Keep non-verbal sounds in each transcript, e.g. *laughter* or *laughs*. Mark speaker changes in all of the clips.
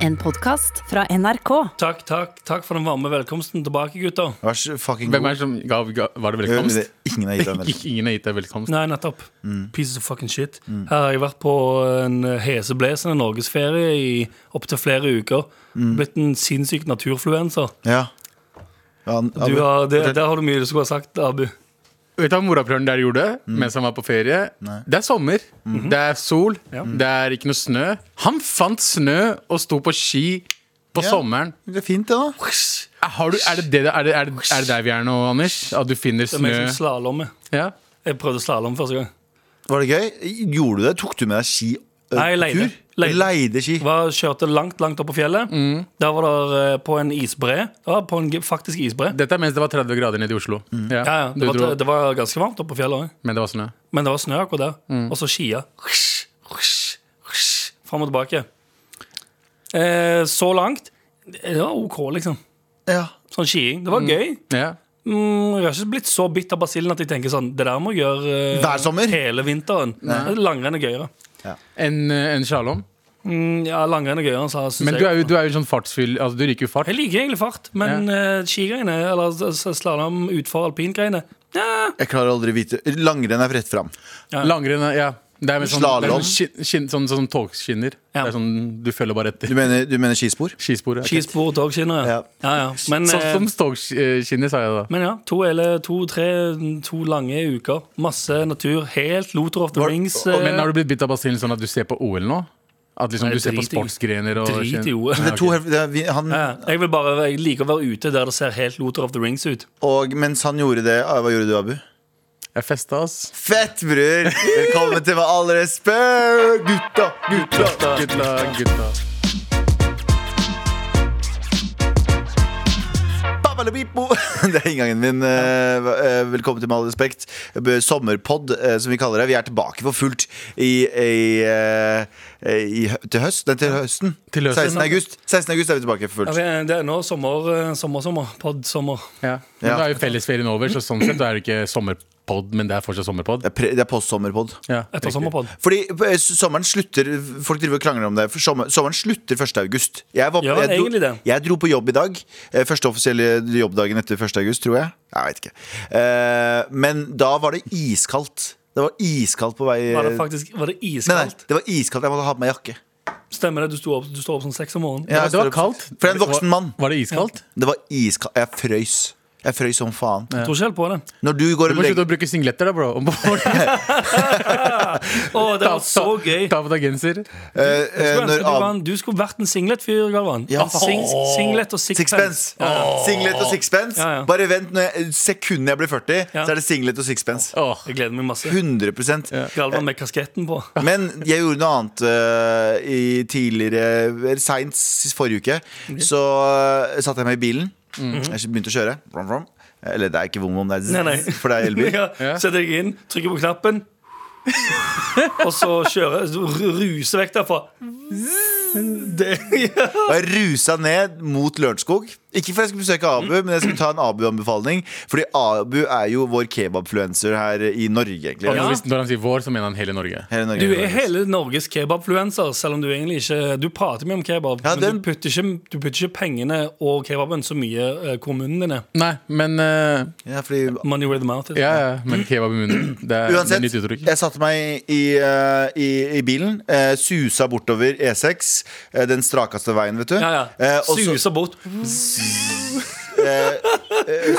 Speaker 1: En podkast fra NRK.
Speaker 2: Takk, takk, takk for den varme velkomsten tilbake, gutter.
Speaker 3: Vær så fucking
Speaker 4: Hvem
Speaker 3: god.
Speaker 4: er det som ga, ga Var det
Speaker 3: Hvem er
Speaker 4: velkomst?
Speaker 3: det? Ingen har gitt deg en
Speaker 4: Ikke- *laughs* Ingen har gitt deg velkomst.
Speaker 2: Nei, nettopp. Piece of fucking shit. Her har jeg vært på en eh, heseblesende norgesferie i opptil flere uker. Blitt en sinnssyk naturfluenser.
Speaker 3: Ja. Ja, han-
Speaker 2: Du
Speaker 3: Abu,
Speaker 2: har, det,
Speaker 3: fortell.
Speaker 2: der har du mye du skulle ha sagt, Abu.
Speaker 4: Vet du hva morapuleren der gjorde mens han var på ferie?
Speaker 3: Mm. Nei. Mm. Mhm.
Speaker 4: Det er sommer. Det er sol.
Speaker 2: Ja.
Speaker 4: Det er ikke noe snø. Han fant snø og sto på ski på
Speaker 3: Ja. Eh,
Speaker 4: sommeren.
Speaker 3: Det er fint, det, da.
Speaker 4: Er- Har du, er, det det, er, det, er, det, er det der vi er nå, Anders? At du finner
Speaker 2: Det er meg som
Speaker 4: snø?
Speaker 2: slalåmer.
Speaker 4: Ja.
Speaker 2: Jeg prøvde slalåm første gang.
Speaker 3: Var det gøy? Gjorde du det? Tok du med deg ski? ø,
Speaker 2: Nei, jeg leide.
Speaker 3: tur?
Speaker 2: Leide.
Speaker 3: Leide ski.
Speaker 2: Var, kjørte langt, langt opp på fjellet. Der var det eh, på en isbre. Det var på en ge- faktisk isbre.
Speaker 4: Dette er mens det var 30 grader nede i Oslo.
Speaker 3: Mm.
Speaker 4: Ja.
Speaker 2: Ja, ja,
Speaker 4: Du
Speaker 2: det, var,
Speaker 4: dro-
Speaker 2: det var ganske varmt oppe på fjellet òg.
Speaker 4: Men det var snø.
Speaker 2: Men det var snø akkurat der.
Speaker 4: Mm.
Speaker 2: Og så skia. Husj, husj, husj, Fram og tilbake. Eh, så langt Det var OK, liksom.
Speaker 3: Ja.
Speaker 2: Sånn skiing. Det var gøy.
Speaker 4: Ja.
Speaker 2: Mm, jeg har ikke blitt så bitt av basillen at jeg tenker sånn Det der må jeg gjøre eh,
Speaker 3: Hver sommer?
Speaker 2: hele vinteren. Langrenn er gøyere.
Speaker 4: En, eh, en slalåm.
Speaker 2: Mm, ja, langrenn er gøyere, sa synes
Speaker 4: Men
Speaker 2: jeg.
Speaker 4: du er jo, du er jo sånn fartsfyll Altså, du ryker jo fart.
Speaker 2: Jeg liker egentlig fart, men eh, skigreiene, eller slalåm utfor alpingreiene ja,
Speaker 3: Jeg klarer aldri å vite. Langrenn er rett fram.
Speaker 2: Ja.
Speaker 4: Langrenn, er- ja. Det er med sånn,
Speaker 3: Slalom.
Speaker 4: det er sånn, skin- skin- sånn, sånn togskinner.
Speaker 2: Ja.
Speaker 4: Det er sånn, du følger bare
Speaker 3: Du *laughs*
Speaker 4: etter.
Speaker 3: mener, du mener skispor?
Speaker 4: Skisporet.
Speaker 2: Skispor og togskinner. Ja.
Speaker 3: Ja.
Speaker 2: Ja, ja. Men,
Speaker 4: Sånn
Speaker 2: eh,
Speaker 4: som togskinner, sa jeg da.
Speaker 2: Men ja, to eller to, tre, to lange uker. Masse natur. Helt Loter of the Rings. eh,
Speaker 4: Men har du blitt bitt av basillen sånn at du ser på OL nå? At liksom
Speaker 2: Nei,
Speaker 4: du ser på
Speaker 2: drit i-
Speaker 4: sportsgrener og
Speaker 2: Drit i OL.
Speaker 3: Det er to, helt- det er, vi- han,
Speaker 2: Ja, Jeg vil bare jeg liker å være ute der det ser helt Loter of the Rings ut.
Speaker 3: og mens han gjorde det, ah, hva gjorde du, Abu?
Speaker 4: Jeg festa, ass.
Speaker 3: Fett, bror! Velkommen til Hva alle spør! Gutta, gutta!
Speaker 4: Gutta, gutta.
Speaker 3: Babalabipo. *laughs* Det er inngangen min. Eh, eh, Velkommen til Med all respekt. B- Sommerpod, eh, som vi kaller det. Vi er tilbake for fullt i, i, eh, i, hø- til høst. Nei, til høsten.
Speaker 4: Til høsten.
Speaker 3: 16. august. 16. august er vi tilbake for
Speaker 2: Ja,
Speaker 3: fullt.
Speaker 2: vi- Det er nå sommer, eh, sommer, sommer. Pod-sommer.
Speaker 4: Ja. Men
Speaker 3: Ja.
Speaker 4: da er jo fellesferien over, så sånn sett da er det ikke sommerpod, men det er fortsatt sommerpod.
Speaker 3: Det er, pre- det er postsommerpod.
Speaker 4: Ja,
Speaker 2: Etter
Speaker 4: riktig.
Speaker 2: sommerpod.
Speaker 3: Fordi eh, s- sommeren slutter Folk driver og krangler om det. For sommer, sommeren slutter 1. august. Jeg, var,
Speaker 2: Ja,
Speaker 3: jeg, dro,
Speaker 2: egentlig det.
Speaker 3: jeg dro på jobb i dag. Eh, Første offisielle jobbdagen etter 1. august, tror jeg. Jeg vet ikke. Eh, Men da var det iskaldt. Det var iskaldt på vei
Speaker 4: Eh,
Speaker 2: Var det faktisk var det
Speaker 3: Nei, nei,
Speaker 2: iskaldt?
Speaker 3: det var iskaldt. Jeg måtte ha på meg jakke.
Speaker 2: Stemmer det? Du sto opp, du sto opp sånn seks om morgenen.
Speaker 3: Ja,
Speaker 4: Ja, det var
Speaker 3: jeg står opp-
Speaker 4: kaldt.
Speaker 3: For en voksen mann.
Speaker 4: Var det iskaldt?
Speaker 3: Det var iskaldt. Jeg frøys. Jeg frøys som faen.
Speaker 2: Jeg Tror ikke helt på det.
Speaker 3: Når du går
Speaker 4: Du
Speaker 3: og
Speaker 4: må slutte
Speaker 3: legger
Speaker 4: å bruke singletter, da,
Speaker 3: *laughs*
Speaker 4: bro. Ta,
Speaker 2: Å, det var så gøy!
Speaker 4: ta på deg genser.
Speaker 3: eh,
Speaker 2: Jeg
Speaker 3: eh,
Speaker 2: skulle ønske
Speaker 3: når
Speaker 2: du,
Speaker 3: av-
Speaker 2: var en, du skulle vært en singlet-fyr, Galvan.
Speaker 3: Ja,
Speaker 2: En sing, singlet og sixpence.
Speaker 3: Sixpence. Singlet og sixpence.
Speaker 2: Ja, ja.
Speaker 3: Bare vent når jeg, sekundet jeg blir 40,
Speaker 2: Ja.
Speaker 3: så er det singlet og sixpence.
Speaker 4: Åh.
Speaker 2: Jeg gleder meg masse.
Speaker 3: 100
Speaker 2: Galvan med kasketten på.
Speaker 3: Men jeg gjorde noe annet eh, i tidligere Seint sist forrige uke.
Speaker 2: Mm.
Speaker 3: Så eh, satte jeg meg i bilen. Jeg begynte å kjøre. Vrom, vrom. Eller det er ikke vom, vom, det er zzz,
Speaker 2: Nei, nei.
Speaker 3: *laughs* for det er elbil.
Speaker 2: Ja, Setter deg inn, trykker på knappen Og så kjører så ru- Ruser vekk derfra det, ja.
Speaker 3: Og jeg rusa ned mot Lørenskog. Ikke for jeg skulle besøke Abu, men jeg skulle ta en Abu-anbefaling. Fordi Abu er jo vår kebabfluencer her i Norge, egentlig.
Speaker 4: Og
Speaker 2: Ja.
Speaker 4: når, hvis- når han sier vår, så mener han hele Norge.
Speaker 3: Hele Norge.
Speaker 2: Du er hele Norges kebabfluencer Selv om du egentlig ikke Du prater mye om kebab
Speaker 3: Ja,
Speaker 2: Men
Speaker 3: den-
Speaker 2: du putter, ikke, du putter ikke pengene og kebaben så mye eh, Hvor munnen din er
Speaker 4: Nei, men eh,
Speaker 3: Ja, fordi
Speaker 2: Money where the mouth is
Speaker 4: Ja, ja, men kebab i munnen. Det er, det er
Speaker 3: Uansett,
Speaker 4: nytt uttrykk.
Speaker 3: jeg satte meg i, eh, i, i bilen, eh, susa bortover E6, eh, den strakeste veien, vet du.
Speaker 2: ja, ja.
Speaker 3: Eh, og så- eh,
Speaker 2: Suser bort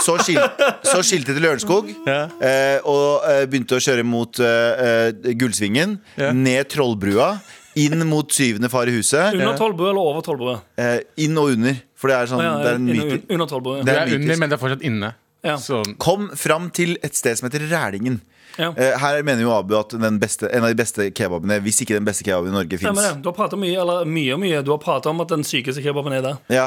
Speaker 3: så, skil, så skilte jeg til Lørenskog
Speaker 2: *laughs*
Speaker 3: eh, og eh, begynte å kjøre mot eh, eh, Gullsvingen, ned Trollbrua, inn mot syvende far i huset.
Speaker 2: Under tolvbrød eller over tolvbrød
Speaker 3: Eh, inn og under, for det er sånn
Speaker 2: ja,
Speaker 3: Det er en
Speaker 2: under,
Speaker 3: myte.
Speaker 2: under tolvbrød
Speaker 3: Det
Speaker 4: Det
Speaker 3: er
Speaker 4: er under,
Speaker 3: mytisk.
Speaker 4: men det er fortsatt inne.
Speaker 2: Ja.
Speaker 4: Så
Speaker 3: Kom fram til et sted som heter Rælingen.
Speaker 2: ja.
Speaker 3: Eh, her mener jo Abu at den beste, en av de beste kebabene, hvis ikke den beste kebaben i Norge,
Speaker 2: Stemmer det
Speaker 3: fins.
Speaker 2: Du har pratet mye, eller mye og mye Du har pratet om at den sykeste kebaben er der
Speaker 3: Ja.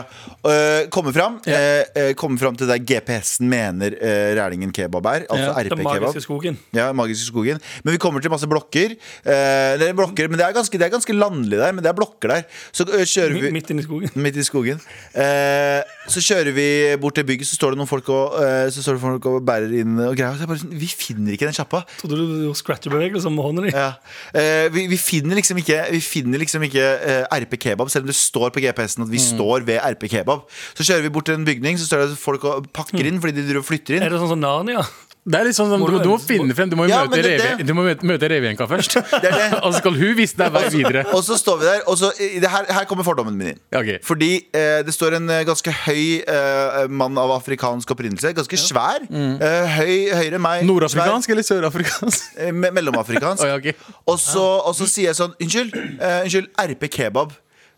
Speaker 3: Eh, komme fram eh, eh, komme fram til der GPS-en mener eh, Rælingen kebab er. Altså
Speaker 4: Ja,
Speaker 2: Den
Speaker 3: RP-kebab.
Speaker 2: magiske skogen
Speaker 3: Ja, Magiske skogen. Men vi kommer til masse blokker. Eh, det er blokker men det er, ganske, det er ganske landlig der, men det er blokker der. Så eh, kjører vi
Speaker 2: Mi- Midt inne i skogen
Speaker 3: Midt i skogen. Eh, så kjører vi bort til bygget, så står det noen folk og, eh, så står det folk og bærer inn og greier. Og så er jeg bare sånn, vi finner ikke den sjappa rumpa.
Speaker 2: Trodde du gjorde scratcherbevegelser med hånda di?
Speaker 3: Ja. Eh, vi, vi finner liksom ikke, vi finner liksom ikke eh, RP Kebab, selv om det står på GPS-en at vi står ved RP Kebab. Så kjører vi bort til en bygning, så står det at folk og pakker inn fordi de driver og flytter inn.
Speaker 2: Er det sånn som Narnia?
Speaker 4: Det er litt sånn som,
Speaker 2: Må
Speaker 4: du,
Speaker 2: du-
Speaker 4: du må finne frem Du må, jo
Speaker 3: Ja,
Speaker 4: møte,
Speaker 3: men det er
Speaker 4: reve,
Speaker 3: det.
Speaker 4: du må møte, møte revejenka først.
Speaker 3: *laughs* Det er det.
Speaker 4: og så skal hun vise deg veien videre.
Speaker 3: Og så står vi der, og så i det her, her kommer fordommen min inn.
Speaker 4: Ja, ok.
Speaker 3: Fordi eh, det står en eh, ganske høy eh, mann av afrikansk opprinnelse. Ganske svær. Eh, høy, høyere enn meg.
Speaker 4: Nordafrikansk eller sørafrikansk?
Speaker 3: svær, eh, me mellomafrikansk.
Speaker 4: *laughs* Å, ja, ok.
Speaker 3: Og så, og så sier jeg sånn Unnskyld, eh, unnskyld RP Kebab.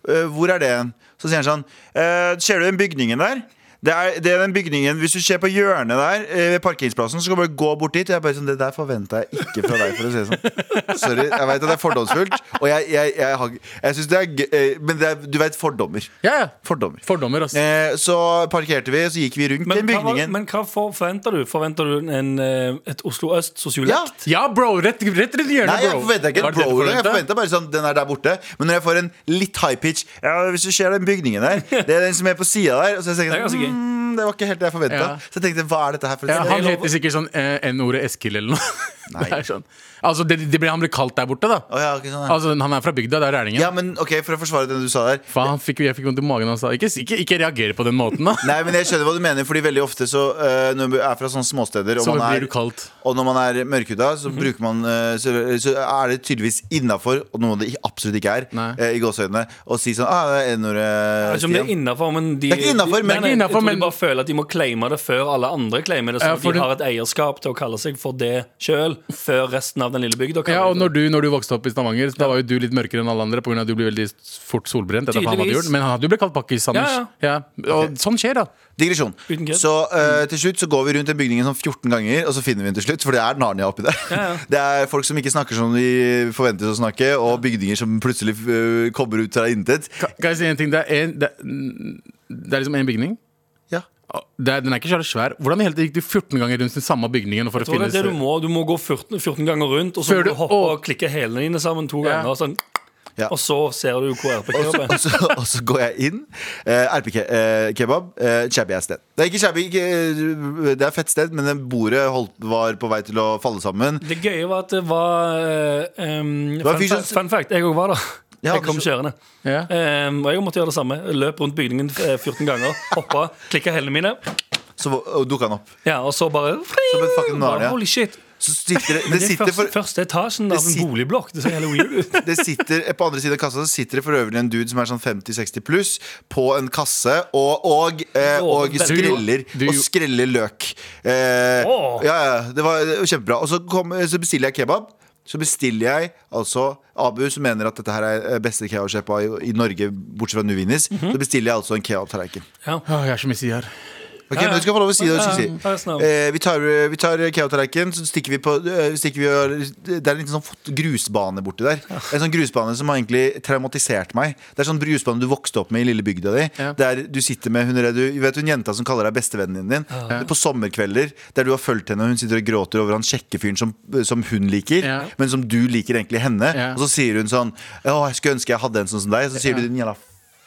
Speaker 3: Eh, hvor er det hen? Så sier han sånn eh, Ser du den bygningen der? Det er, det er den bygningen, Hvis du ser på hjørnet der, eh, ved parkeringsplassen, så kan du bare gå bort dit. Og jeg bare sånn, Det der forventa jeg ikke fra deg, for å si det sånn. Sorry. Jeg veit at det er fordomsfullt, og jeg, jeg, jeg, har- jeg syns det er gøy, eh, Men det er, du veit fordommer.
Speaker 4: Ja, ja.
Speaker 3: Fordommer.
Speaker 4: Fordommer, altså.
Speaker 3: Eh, så parkerte vi, så gikk vi rundt den
Speaker 2: Men hva, var-
Speaker 3: bygningen.
Speaker 2: men hva for, forventer du? Forventer du en, eh, et Oslo
Speaker 3: ja,
Speaker 2: øst-sosiolekt?
Speaker 4: Ja, bro! Rett, rett rundt hjørnet,
Speaker 3: Nei, jeg
Speaker 4: bro.
Speaker 3: forventa ikke
Speaker 4: Var
Speaker 3: en
Speaker 4: det det du
Speaker 3: bro Jeg
Speaker 4: forventet?
Speaker 3: forventet bare sånn, den er der borte Men når jeg får en litt high pitch Ja, hvis du ser den bygningen der Det er den som er på siden der Og så
Speaker 2: Det er
Speaker 3: tenker jeg
Speaker 2: ganske gøy.
Speaker 3: sånn, mm, det var ikke helt det jeg forventet
Speaker 4: Ja.
Speaker 3: Så jeg tenkte, hva er dette her for
Speaker 4: Ja,
Speaker 3: et
Speaker 4: han
Speaker 3: sted?
Speaker 4: heter sikkert sånn eh, N-ordet Eskil eller noe. *laughs*
Speaker 3: Nei.
Speaker 4: Det er sånn. Altså, det, det ble, han ble kalt der borte, da.
Speaker 3: Å, ja, ok, sånn, ja.
Speaker 4: Altså, Han er fra bygda, det er rælingen.
Speaker 3: ja, men ok, for å forsvare det du sa der
Speaker 4: Faen, han fikk, jeg fikk vondt i magen av det. Ikke, ikke, ikke reagere på den måten, da.
Speaker 3: *laughs* Nei, men jeg skjønner hva du mener Fordi veldig ofte så, eh, når man er fra sånne småsteder og
Speaker 4: Så
Speaker 3: man
Speaker 4: blir
Speaker 3: er-
Speaker 4: du kalt. Mhm.
Speaker 3: Og når man er mørkhuda, så, bruker man, eh, så, så er det tydeligvis innafor, og noe det absolutt ikke er,
Speaker 4: Nei.
Speaker 3: eh, i gåseøynene, å si sånn ah, det er N-ordet,
Speaker 2: Jeg vet ikke om det er
Speaker 3: Stian».
Speaker 2: innafor, men de,
Speaker 3: Det er ikke innenfor,
Speaker 2: de-
Speaker 3: men-
Speaker 2: nei, nei,
Speaker 4: Det er ikke innenfor,
Speaker 2: jeg tror
Speaker 4: men-
Speaker 2: de bare føler at de må claime det før alle andre claimer det.
Speaker 4: Ja,
Speaker 2: Sånn at
Speaker 4: for
Speaker 2: de
Speaker 4: det-
Speaker 2: har et eierskap til å kalle seg for det sjøl, før resten av den lille bygda. kaller
Speaker 4: Ja, og
Speaker 2: det.
Speaker 4: når du, når du vokste opp i Stavanger, da var jo du litt mørkere enn alle andre pga. at du ble veldig fort solbrent. Etter hva han hadde
Speaker 2: Tydeligvis.
Speaker 4: gjort. Men han hadde jo blitt kalt pakkis, Anders. Ja, Og sånn skjer, da.
Speaker 3: Digresjon.
Speaker 2: Uten kødd.
Speaker 3: Så eh, til slutt så går vi rundt den bygningen sånn 14 ganger, og så finner vi den til slutt, for det er Narnia oppi der. *laughs* Det er folk som ikke snakker som de forventes å snakke, og bygninger som plutselig eh, kommer ut fra intet.
Speaker 4: Kan jeg si en ting? Det er, en, det, det er liksom én bygning.
Speaker 3: Ja.
Speaker 4: Det er, den er ikke så svær. Hvordan i hele tatt gikk du 14 ganger rundt den samme bygningen? For å
Speaker 2: Jeg tror
Speaker 4: finne
Speaker 2: det er det du må. Du må gå 14, 14 ganger rundt, og så
Speaker 4: Før
Speaker 2: må
Speaker 4: du-
Speaker 2: du hoppe
Speaker 4: å.
Speaker 2: og klikke hælene dine sammen to
Speaker 4: Ja.
Speaker 2: ganger. og Sånn.
Speaker 3: Ja.
Speaker 2: Og så ser du hvor RP-kjøpet
Speaker 3: *laughs* Og
Speaker 2: er.
Speaker 3: så, og så går jeg inn. eh, RP ke eh, kebab. eh, Shabby ass sted. Det er ikke shabby, ikke, det er fett sted, men det bordet holdt, var på vei til å falle sammen.
Speaker 2: Det gøye var at det var eh, em,
Speaker 3: var
Speaker 2: fun,
Speaker 3: en fyr som-
Speaker 2: fact, fun fact, jeg òg var der.
Speaker 3: Ja,
Speaker 2: jeg kom
Speaker 3: du-
Speaker 2: kjørende.
Speaker 4: Ja.
Speaker 2: Em, og jeg måtte gjøre det samme. Løp rundt bygningen eh, 14 ganger, hoppa, klikka hælene mine,
Speaker 3: Så og dukka han opp.
Speaker 2: ja, og så bare
Speaker 3: Som et fucking
Speaker 2: bare,
Speaker 3: Narnia.
Speaker 2: Holy shit.
Speaker 3: Så sitter det,
Speaker 2: Men
Speaker 3: det
Speaker 2: det er
Speaker 3: sitter
Speaker 2: første,
Speaker 3: for
Speaker 2: første etasjen av
Speaker 3: det
Speaker 2: en
Speaker 3: sit-
Speaker 2: boligblokk. Det ser helt weird ut.
Speaker 3: det sitter, på andre siden av kassa så sitter det for øvrig en dude som er sånn 50-60 pluss, på en kasse og, og, eh, og
Speaker 2: Du-
Speaker 3: skreller
Speaker 4: du-
Speaker 3: Og skreller løk. Eh,
Speaker 2: Åh.
Speaker 3: ja, ja, det var det var kjempebra. Og så, kom, så bestiller jeg kebab. Så bestiller jeg altså Abu, som mener at dette her er eh, beste kebabsjappa i, i Norge, bortsett fra Nuvinis,
Speaker 2: Mhm.
Speaker 3: så bestiller jeg altså en kebabtallerken.
Speaker 2: Ja.
Speaker 4: Å, jeg er så mye sider.
Speaker 3: Ok,
Speaker 2: Ja, ja.
Speaker 3: men Du skal få lov å si det du skal
Speaker 2: Ja,
Speaker 3: si.
Speaker 2: ja, ta resten av.
Speaker 3: Eh, vi tar, vi tar kebabtallerkenen, så stikker vi på eh, stikker vi, og- Det er en liten sånn fot- grusbane borti der. En sånn grusbane som har egentlig traumatisert meg. Det er sånn grusbane du vokste opp med i lille bygda di.
Speaker 4: Ja.
Speaker 3: Der du sitter med hun, du vet hun jenta som kaller deg bestevennen din. På sommerkvelder der du har fulgt henne, og hun sitter og gråter over han kjekkefyren som, som hun liker,
Speaker 4: Ja.
Speaker 3: men som du liker egentlig henne.
Speaker 4: Ja.
Speaker 3: Og så sier hun sånn Å, jeg skulle ønske jeg hadde en sånn som deg. Så sier du din jævla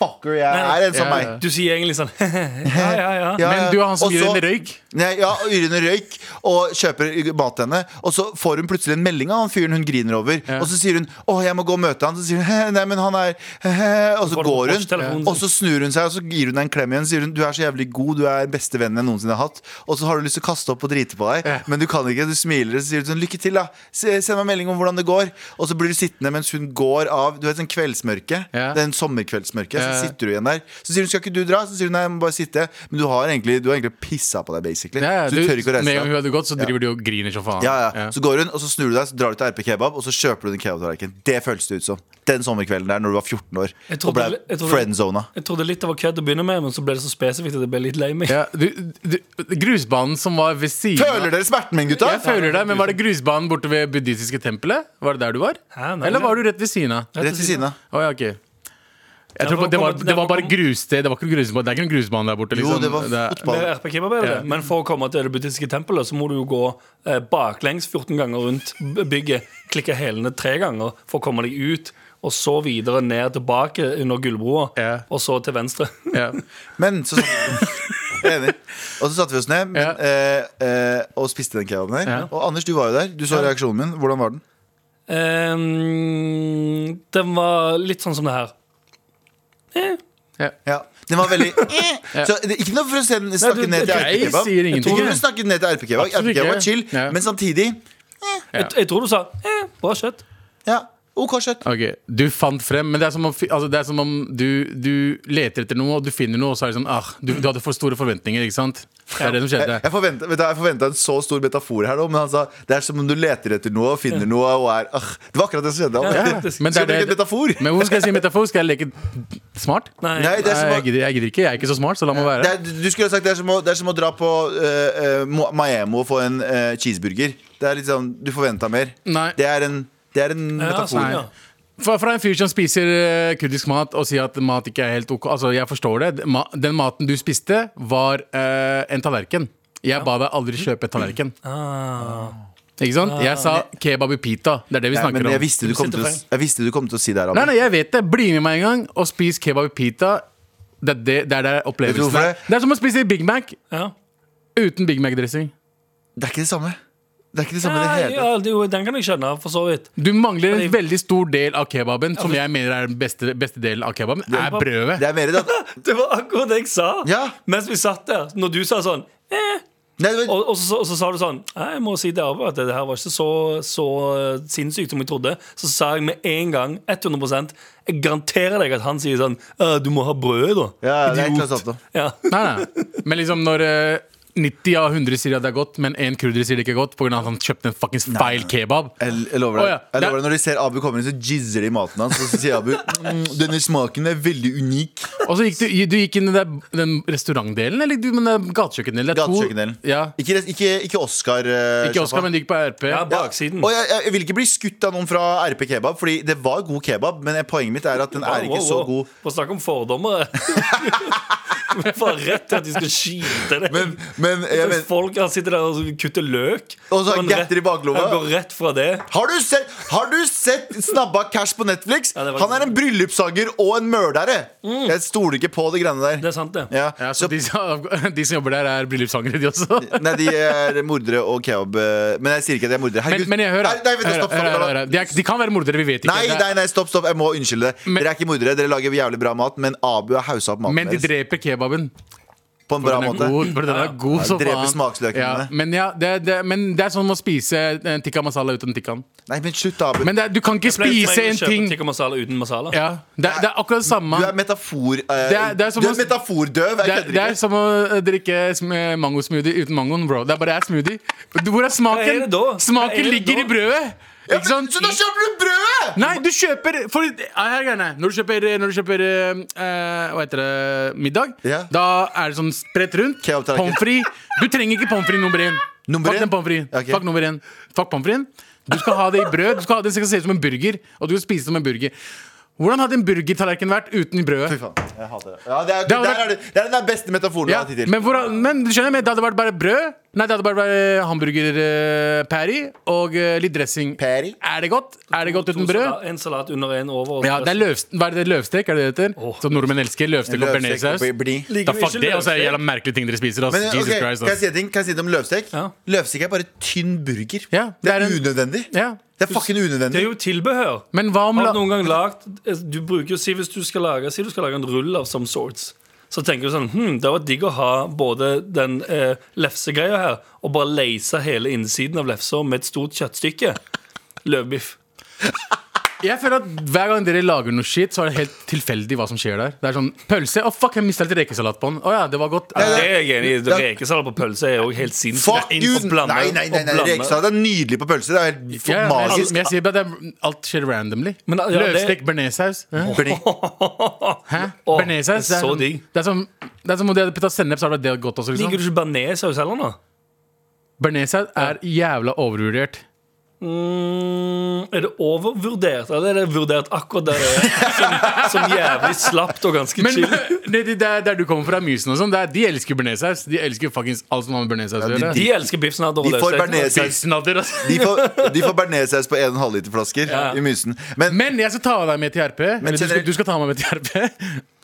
Speaker 3: fucker, jeg
Speaker 2: Nei.
Speaker 3: er en som
Speaker 4: Ja,
Speaker 3: meg.
Speaker 4: ja.
Speaker 2: Du sier egentlig sånn *laughs* Ja, ja, ja.
Speaker 3: Ja, ja.
Speaker 4: Men du er han som
Speaker 3: Og
Speaker 4: gir
Speaker 3: så-
Speaker 4: en røyk.
Speaker 3: Nei, ja, og gir henne røyk og kjøper mat til henne. Og så får hun plutselig en melding av han fyren hun griner over. Og så sier hun 'Å, jeg må gå og møte han'. Så sier hun «Hæ, 'Nei, men han er hæ, hæ», Og så
Speaker 2: Får du
Speaker 3: går hun,
Speaker 2: posttelefonen sin?
Speaker 3: og så snur hun seg og så gir hun deg en klem igjen. Sier hun 'Du er så jævlig god, du er beste vennen jeg noensinne har hatt'. Og så har du lyst til å kaste opp og drite på deg,
Speaker 4: Ja.
Speaker 3: men du kan ikke. Du smiler og så sier hun sånn 'Lykke til, da. Se- Send meg melding om hvordan det går'. Og så blir du sittende mens hun går av Du vet, sånn kveldsmørke.
Speaker 4: Ja.
Speaker 3: Det er en sommerkveldsmørke.
Speaker 4: Ja.
Speaker 3: Så sitter du igjen der. Så sier hun 'Skal ikke du dra?' Så sier hun 'Nei, jeg må bare sitte'. Men du har egentlig, du har egentlig pissa på deg, basically.
Speaker 4: Ja, ja,
Speaker 3: Så du, tør ikke å reise
Speaker 4: Med en gang
Speaker 3: deg.
Speaker 4: hun hadde gått, så driver du og griner som faen.
Speaker 3: Ja, ja. Så går hun, og så snur du deg, så drar du til RP Kebab, og så kjøper du den kebabtallerkenen. Det føles det ut som. Den sommerkvelden der når du var 14 år
Speaker 2: Jeg
Speaker 3: og
Speaker 2: trodde-
Speaker 3: ble
Speaker 2: jeg trodde-
Speaker 3: friendzona.
Speaker 2: Jeg trodde litt det var kødd å begynne med, men så ble det så spesifikt at jeg ble litt lei meg.
Speaker 4: Ja, du, du, grusbanen som var ved siden av-
Speaker 3: Føler dere smerten min, gutta?
Speaker 4: Jeg føler det, men Var det grusbanen borte ved buddhistiske tempelet? Var det der du var?
Speaker 2: Hæ, nei,
Speaker 4: Eller
Speaker 2: nei.
Speaker 4: var du rett ved siden av?
Speaker 3: Rett ved siden av.
Speaker 4: Å, ja, ok. Jeg tror
Speaker 2: for
Speaker 4: på- det,
Speaker 2: å
Speaker 4: var,
Speaker 2: komme-
Speaker 4: det
Speaker 2: for
Speaker 4: var
Speaker 2: å
Speaker 4: bare
Speaker 2: komme-
Speaker 4: grussted. Det, var ikke grusbane, det er ikke noen grusbane der borte.
Speaker 3: Jo,
Speaker 4: Liksom.
Speaker 3: det var
Speaker 4: er-
Speaker 3: fotball.
Speaker 2: Med RP Kebab er det det. Men for å komme til det buddhistiske tempelet Så må du jo gå eh, baklengs 14 ganger rundt b- bygget, klikke hælene tre ganger for å komme deg ut, og så videre ned tilbake under gullbroa,
Speaker 4: Ja.
Speaker 2: og så til venstre.
Speaker 4: Ja. *laughs*
Speaker 3: Men så, Enig. Og så satte vi oss ned
Speaker 4: Ja.
Speaker 3: eh, eh, og spiste den kebaben der.
Speaker 4: Ja.
Speaker 3: Og Anders, du var jo der. Du så reaksjonen min. Hvordan var den?
Speaker 2: *laughs* Ehm, den var litt sånn som det her.
Speaker 4: Ja.
Speaker 3: Ja. Den var veldig så, det, Ikke noe for å se den snakke
Speaker 2: du-
Speaker 3: ned til
Speaker 4: jeg
Speaker 3: RP-kebab.
Speaker 4: sier
Speaker 3: Ikke
Speaker 4: ingenting.
Speaker 3: for å snakke ned til RP-kebab.
Speaker 4: Absolutt
Speaker 3: RP-kebab var
Speaker 4: ikke.
Speaker 3: chill,
Speaker 4: Ja.
Speaker 3: men samtidig
Speaker 4: Ja.
Speaker 2: Jeg, jeg tror du sa eh, bra kjøtt.
Speaker 3: Ja, OK kjøtt.
Speaker 4: Ok, Du fant frem, men det er som om, fi- altså, det er som om du, du leter etter noe, og du finner noe, og så er det sånn ah, du, du hadde for store forventninger, ikke sant? Det er det som
Speaker 3: Jeg,
Speaker 4: skjedde.
Speaker 3: jeg forventa vet du, jeg forventet en så stor metafor her, nå, men han sa det er som om du leter etter noe og finner noe og er ah, Det var akkurat det som skjedde.
Speaker 2: Ja,
Speaker 3: Skulle
Speaker 2: faktisk.
Speaker 4: Men det er
Speaker 3: bruke
Speaker 4: det-
Speaker 3: en metafor.
Speaker 4: Men hvorfor skal jeg si metafor? Skal jeg leke smart?
Speaker 2: Nei.
Speaker 3: Nei, det er
Speaker 4: Nei,
Speaker 3: som å
Speaker 4: jeg, gidder, jeg gidder ikke. Jeg er ikke så smart, så la meg
Speaker 3: det
Speaker 4: være.
Speaker 3: er, du skulle ha sagt det er som å, det er som å dra på eh, eh, Mo- Miami og få en eh, cheeseburger. Det er litt sånn, Du forventa mer.
Speaker 4: Nei.
Speaker 3: Det er en, det er en
Speaker 2: ja,
Speaker 3: metafor.
Speaker 2: sånn, ja.
Speaker 4: Fra, fra en fyr som spiser eh, kurdisk mat og sier at mat ikke er helt ok Altså, jeg forstår det. Ma, den maten du spiste, var eh, en tallerken. Jeg ba deg aldri kjøpe en tallerken.
Speaker 2: Ah.
Speaker 4: Ikke sant? Jeg sa kebab i pita. Det er det vi
Speaker 3: Nei,
Speaker 4: snakker
Speaker 3: men jeg
Speaker 4: om.
Speaker 3: visste, du kom til å, jeg visste du kom til å si det her.
Speaker 4: Nei,
Speaker 3: Abu.
Speaker 4: nei, jeg vet det. Bli med meg en gang og spis kebab i pita. Det er det, det er der
Speaker 3: Vet du
Speaker 4: opplevelsen
Speaker 3: hvorfor
Speaker 4: er.
Speaker 3: det?
Speaker 4: Det er som å spise Big Mac
Speaker 2: Ja.
Speaker 4: uten Big Mac-dressing.
Speaker 3: Det er ikke det samme. Det er ikke det samme i det
Speaker 2: Nei,
Speaker 3: hele
Speaker 2: ja,
Speaker 3: tatt.
Speaker 2: det, er jo- den kan jeg skjønne, for så vidt.
Speaker 4: Du mangler en
Speaker 2: Fordi-
Speaker 4: veldig stor del av kebaben, som jeg mener er den beste, beste delen av kebaben, er brødet.
Speaker 3: Det er mer det at
Speaker 2: *laughs* Det var akkurat det jeg sa
Speaker 3: Ja.
Speaker 2: mens vi satt der. Når du sa sånn
Speaker 3: Nei, det var,
Speaker 2: Og, og, så, og så sa du sånn «Nei, Jeg må si det av at det her var ikke så, så eh, sinnssykt som jeg trodde. Så sa jeg med en gang, 100 Jeg garanterer deg at han sier sånn «Øh, Du må ha brød, da.
Speaker 3: ja, det er
Speaker 2: Idiot.»
Speaker 3: klasse opp, da.
Speaker 2: Ja.
Speaker 4: Nei, nei. Men liksom når eh, 90 av 100 sier at det er godt, men én kurder sier det ikke er godt pga. at han kjøpte en fuckings feil kebab.
Speaker 3: Jeg, jeg lover deg.
Speaker 4: Å, ja.
Speaker 3: jeg
Speaker 4: Det er-
Speaker 3: lover deg Når de ser Abu komme inn, så jizzer de i maten hans. Og så sier Abu mm, denne smaken er veldig unik.
Speaker 4: Og så gikk du, du gikk inn i den, den restaurantdelen, eller du, men den gatekjøkkendelen? Det er to-
Speaker 3: Gatekjøkkendelen.
Speaker 4: Ja.
Speaker 3: Ikke, res- ikke, ikke Oscar. eh,
Speaker 4: Ikke
Speaker 3: sjappa.
Speaker 4: Oskar, men du gikk på RP.
Speaker 2: ja, baksiden.
Speaker 3: Og jeg, jeg, jeg vil ikke bli skutt av noen fra RP Kebab, Fordi det var god kebab, men poenget mitt er at den er ikke så god.
Speaker 2: Bare snakk om
Speaker 3: *laughs*
Speaker 2: fordommer. *laughs* Bare rett til at de skal skyte deg.
Speaker 3: Men, men, jeg,
Speaker 2: Hvis
Speaker 3: men
Speaker 2: folk her sitter der og kutter løk
Speaker 3: Og så har
Speaker 2: man
Speaker 3: getter
Speaker 2: rett-
Speaker 3: i baklomma.
Speaker 2: Ja, Går rett fra det.
Speaker 3: har du, sett, har du sett Snabba Cash på Netflix?
Speaker 2: Ja, det var-
Speaker 3: Han er en bryllupssager og en mørdere! Jeg stoler ikke på de greiene der.
Speaker 2: Det er sant, det.
Speaker 3: Ja,
Speaker 4: Mm. Ja, så
Speaker 3: så,
Speaker 4: de, som- *laughs* de som jobber der, er bryllupssangere, de også.
Speaker 3: nei, de eh, er mordere og kebab eh, Men jeg sier ikke at de er mordere.
Speaker 4: *laughs* Men,
Speaker 3: Herregud.
Speaker 4: men jeg hører,
Speaker 3: Nei, nei, vent,
Speaker 4: hører,
Speaker 3: stopp, stopp,
Speaker 4: hører,
Speaker 3: stopp,
Speaker 4: hører,
Speaker 3: stopp.
Speaker 4: hører. De, er, de kan være mordere, vi vet ikke.
Speaker 3: Nei,
Speaker 4: Det er-
Speaker 3: nei, nei, stopp, stopp. Jeg må unnskylde det.
Speaker 4: Men-
Speaker 3: Dere er ikke mordere. Dere lager jævlig bra mat, men Abu har hausa opp maten
Speaker 4: Men de
Speaker 3: deres
Speaker 4: dreper kebaben.
Speaker 3: på en
Speaker 4: For
Speaker 3: bra
Speaker 4: den er
Speaker 3: måte.
Speaker 4: god, for den er god som
Speaker 3: dreper
Speaker 4: faen.
Speaker 3: smaksløkene.
Speaker 4: Ja, men, ja, det, er- det, er- men det er som å spise eh, tikka masala uten tikkaen.
Speaker 3: Nei, men slutt, Abu.
Speaker 4: Men det, er- du kan ikke
Speaker 2: Pleier som
Speaker 4: spise
Speaker 2: regel
Speaker 4: en
Speaker 2: å kjøpe
Speaker 4: ting
Speaker 2: tikka masala uten masala.
Speaker 4: ja, det, er- det er akkurat det samme.
Speaker 3: Du er metafor... eh,
Speaker 4: Det er- det er som
Speaker 3: du
Speaker 4: å-
Speaker 3: er metafordøv.
Speaker 4: Det
Speaker 3: Jeg
Speaker 4: er,
Speaker 3: kødder
Speaker 4: det er
Speaker 3: ikke.
Speaker 4: som å eh, drikke sm- eh, mangosmoothie uten mangoen, bro. Det er bare det er smoothie. Du- Hvor er
Speaker 2: Hva er
Speaker 4: smaken?
Speaker 2: det da? Hva er
Speaker 4: Smaken
Speaker 2: det
Speaker 4: ligger
Speaker 2: da?
Speaker 4: i brødet.
Speaker 3: Ja,
Speaker 4: Ikke
Speaker 3: men,
Speaker 4: sant?
Speaker 3: så da kjøper du brødet!
Speaker 4: Nei, du kjøper for, ja, her er greiene. Når du kjøper, når du kjøper eh, Hva heter det middag,
Speaker 3: Ja.
Speaker 4: da er det sånn spredt rundt.
Speaker 3: Kebab tallerken.
Speaker 4: Pommes frites. Du trenger ikke pommes frites nummer én.
Speaker 3: Nummer
Speaker 4: Fuck
Speaker 3: én?
Speaker 4: den pommes frites.
Speaker 3: Ok.
Speaker 4: Fuck nummer én. Fuck pommes frites. Du skal ha det i brød. Du skal ha det, det skal se ut som en burger. Og du skal spise det som en burger. Hvordan hadde en burgertallerken vært uten
Speaker 3: Fy
Speaker 4: brødet?
Speaker 3: faen, jeg hater det. Ja, det, er,
Speaker 4: Det hadde
Speaker 3: der er det, det er den der beste metaforen jeg
Speaker 4: Ja,
Speaker 3: har tid til.
Speaker 4: men, hvordan, men du skjønner, men det hadde vært bare brød. Nei, det hadde bare vært hamburger eh, patty og eh, litt dressing.
Speaker 3: Patty?
Speaker 4: Er det godt? Er det godt
Speaker 2: To
Speaker 4: uten brød?
Speaker 2: salat- En salat under, en over. og
Speaker 4: Ja, det er løvst, hva er det løvstek, er det det heter?
Speaker 2: Åh.
Speaker 4: Som nordmenn elsker. Løvstek og
Speaker 3: Løvstek og
Speaker 4: bearnéssaus.
Speaker 3: bli- bli.
Speaker 2: Liker
Speaker 4: Da
Speaker 2: vi
Speaker 4: fuck
Speaker 2: ikke
Speaker 4: det, og så er
Speaker 2: løvstek?
Speaker 4: det jævla merkelige ting dere spiser. Ass.
Speaker 3: Men,
Speaker 4: Jesus
Speaker 3: ok,
Speaker 4: Christ,
Speaker 3: kan, jeg
Speaker 4: ass.
Speaker 3: si en ting? kan jeg si noe om løvstek?
Speaker 2: Ja.
Speaker 3: Løvstek er bare tynn burger.
Speaker 4: Ja,
Speaker 3: det er,
Speaker 4: det er en-
Speaker 3: unødvendig.
Speaker 4: Ja.
Speaker 3: Det er fucking
Speaker 2: Det
Speaker 3: unødvendig.
Speaker 2: er jo tilbehør.
Speaker 4: Men hva om
Speaker 2: Har
Speaker 4: la...
Speaker 2: du noen gang lagt Du bruker jo si hvis du skal lage Si du skal lage en rull av some sorts Så tenker du sånn Hm, det var digg å ha både den eh, lefsegreia her Og bare leise hele innsiden av lefsa Med et stort kjøttstykke Løvbiff
Speaker 4: Jeg føler at Hver gang dere lager noe shit, så er det helt tilfeldig hva som skjer der. Det er sånn pølse. Å, fuck, jeg mista litt rekesalat på den. Å ja, det var godt.
Speaker 2: Det
Speaker 4: Ja,
Speaker 2: er jeg enig i
Speaker 3: Ja.
Speaker 2: Rekesalat på pølse er jo helt
Speaker 3: Fuck
Speaker 2: sinnssykt
Speaker 3: you!
Speaker 2: Å blande-
Speaker 3: Nei, nei,
Speaker 2: å
Speaker 3: nei, nei.
Speaker 2: blande.
Speaker 3: Rekesalat er nydelig på pølse. Det er helt for
Speaker 4: ja, men jeg,
Speaker 3: magisk.
Speaker 4: men jeg sier bare at det er- alt skjer randomly.
Speaker 2: Men, ja, det-
Speaker 4: Løvstek, bearnéssaus. Hæ?
Speaker 3: Bli-
Speaker 4: Hæ?
Speaker 2: Åh,
Speaker 4: *laughs* Bearnéssaus?
Speaker 2: det er så
Speaker 4: sånn-
Speaker 2: digg.
Speaker 4: Det er som det er som om de hadde putta sennep, så hadde det vært godt også.
Speaker 2: Liker
Speaker 4: Liksom.
Speaker 2: du ikke bearnéssaus heller nå?
Speaker 4: Bearnéssaus er jævla overvurdert.
Speaker 2: Mm, er det overvurdert, eller er det vurdert akkurat der det er? Som, som Sånn- jævlig slappt og ganske
Speaker 4: Men,
Speaker 2: chill
Speaker 4: *laughs* nedi der, der du kommer fra, Mysen og sånn, der- de elsker bearnéssaus. De elsker fuckings alt som har med bearnéssaus
Speaker 3: Ja,
Speaker 4: å
Speaker 3: de-
Speaker 4: gjøre.
Speaker 2: De elsker biff snadder og
Speaker 3: De får
Speaker 2: løssteik.
Speaker 3: bearnés-
Speaker 4: Pissnadder, altså.
Speaker 3: De får, de får bearnéssaus på 1,5 liter flasker
Speaker 2: Ja.
Speaker 3: i Mysen. Men,
Speaker 4: Men jeg skal ta deg med til RP. Eller du, skal,
Speaker 3: generelt-
Speaker 4: du skal ta meg med til RP.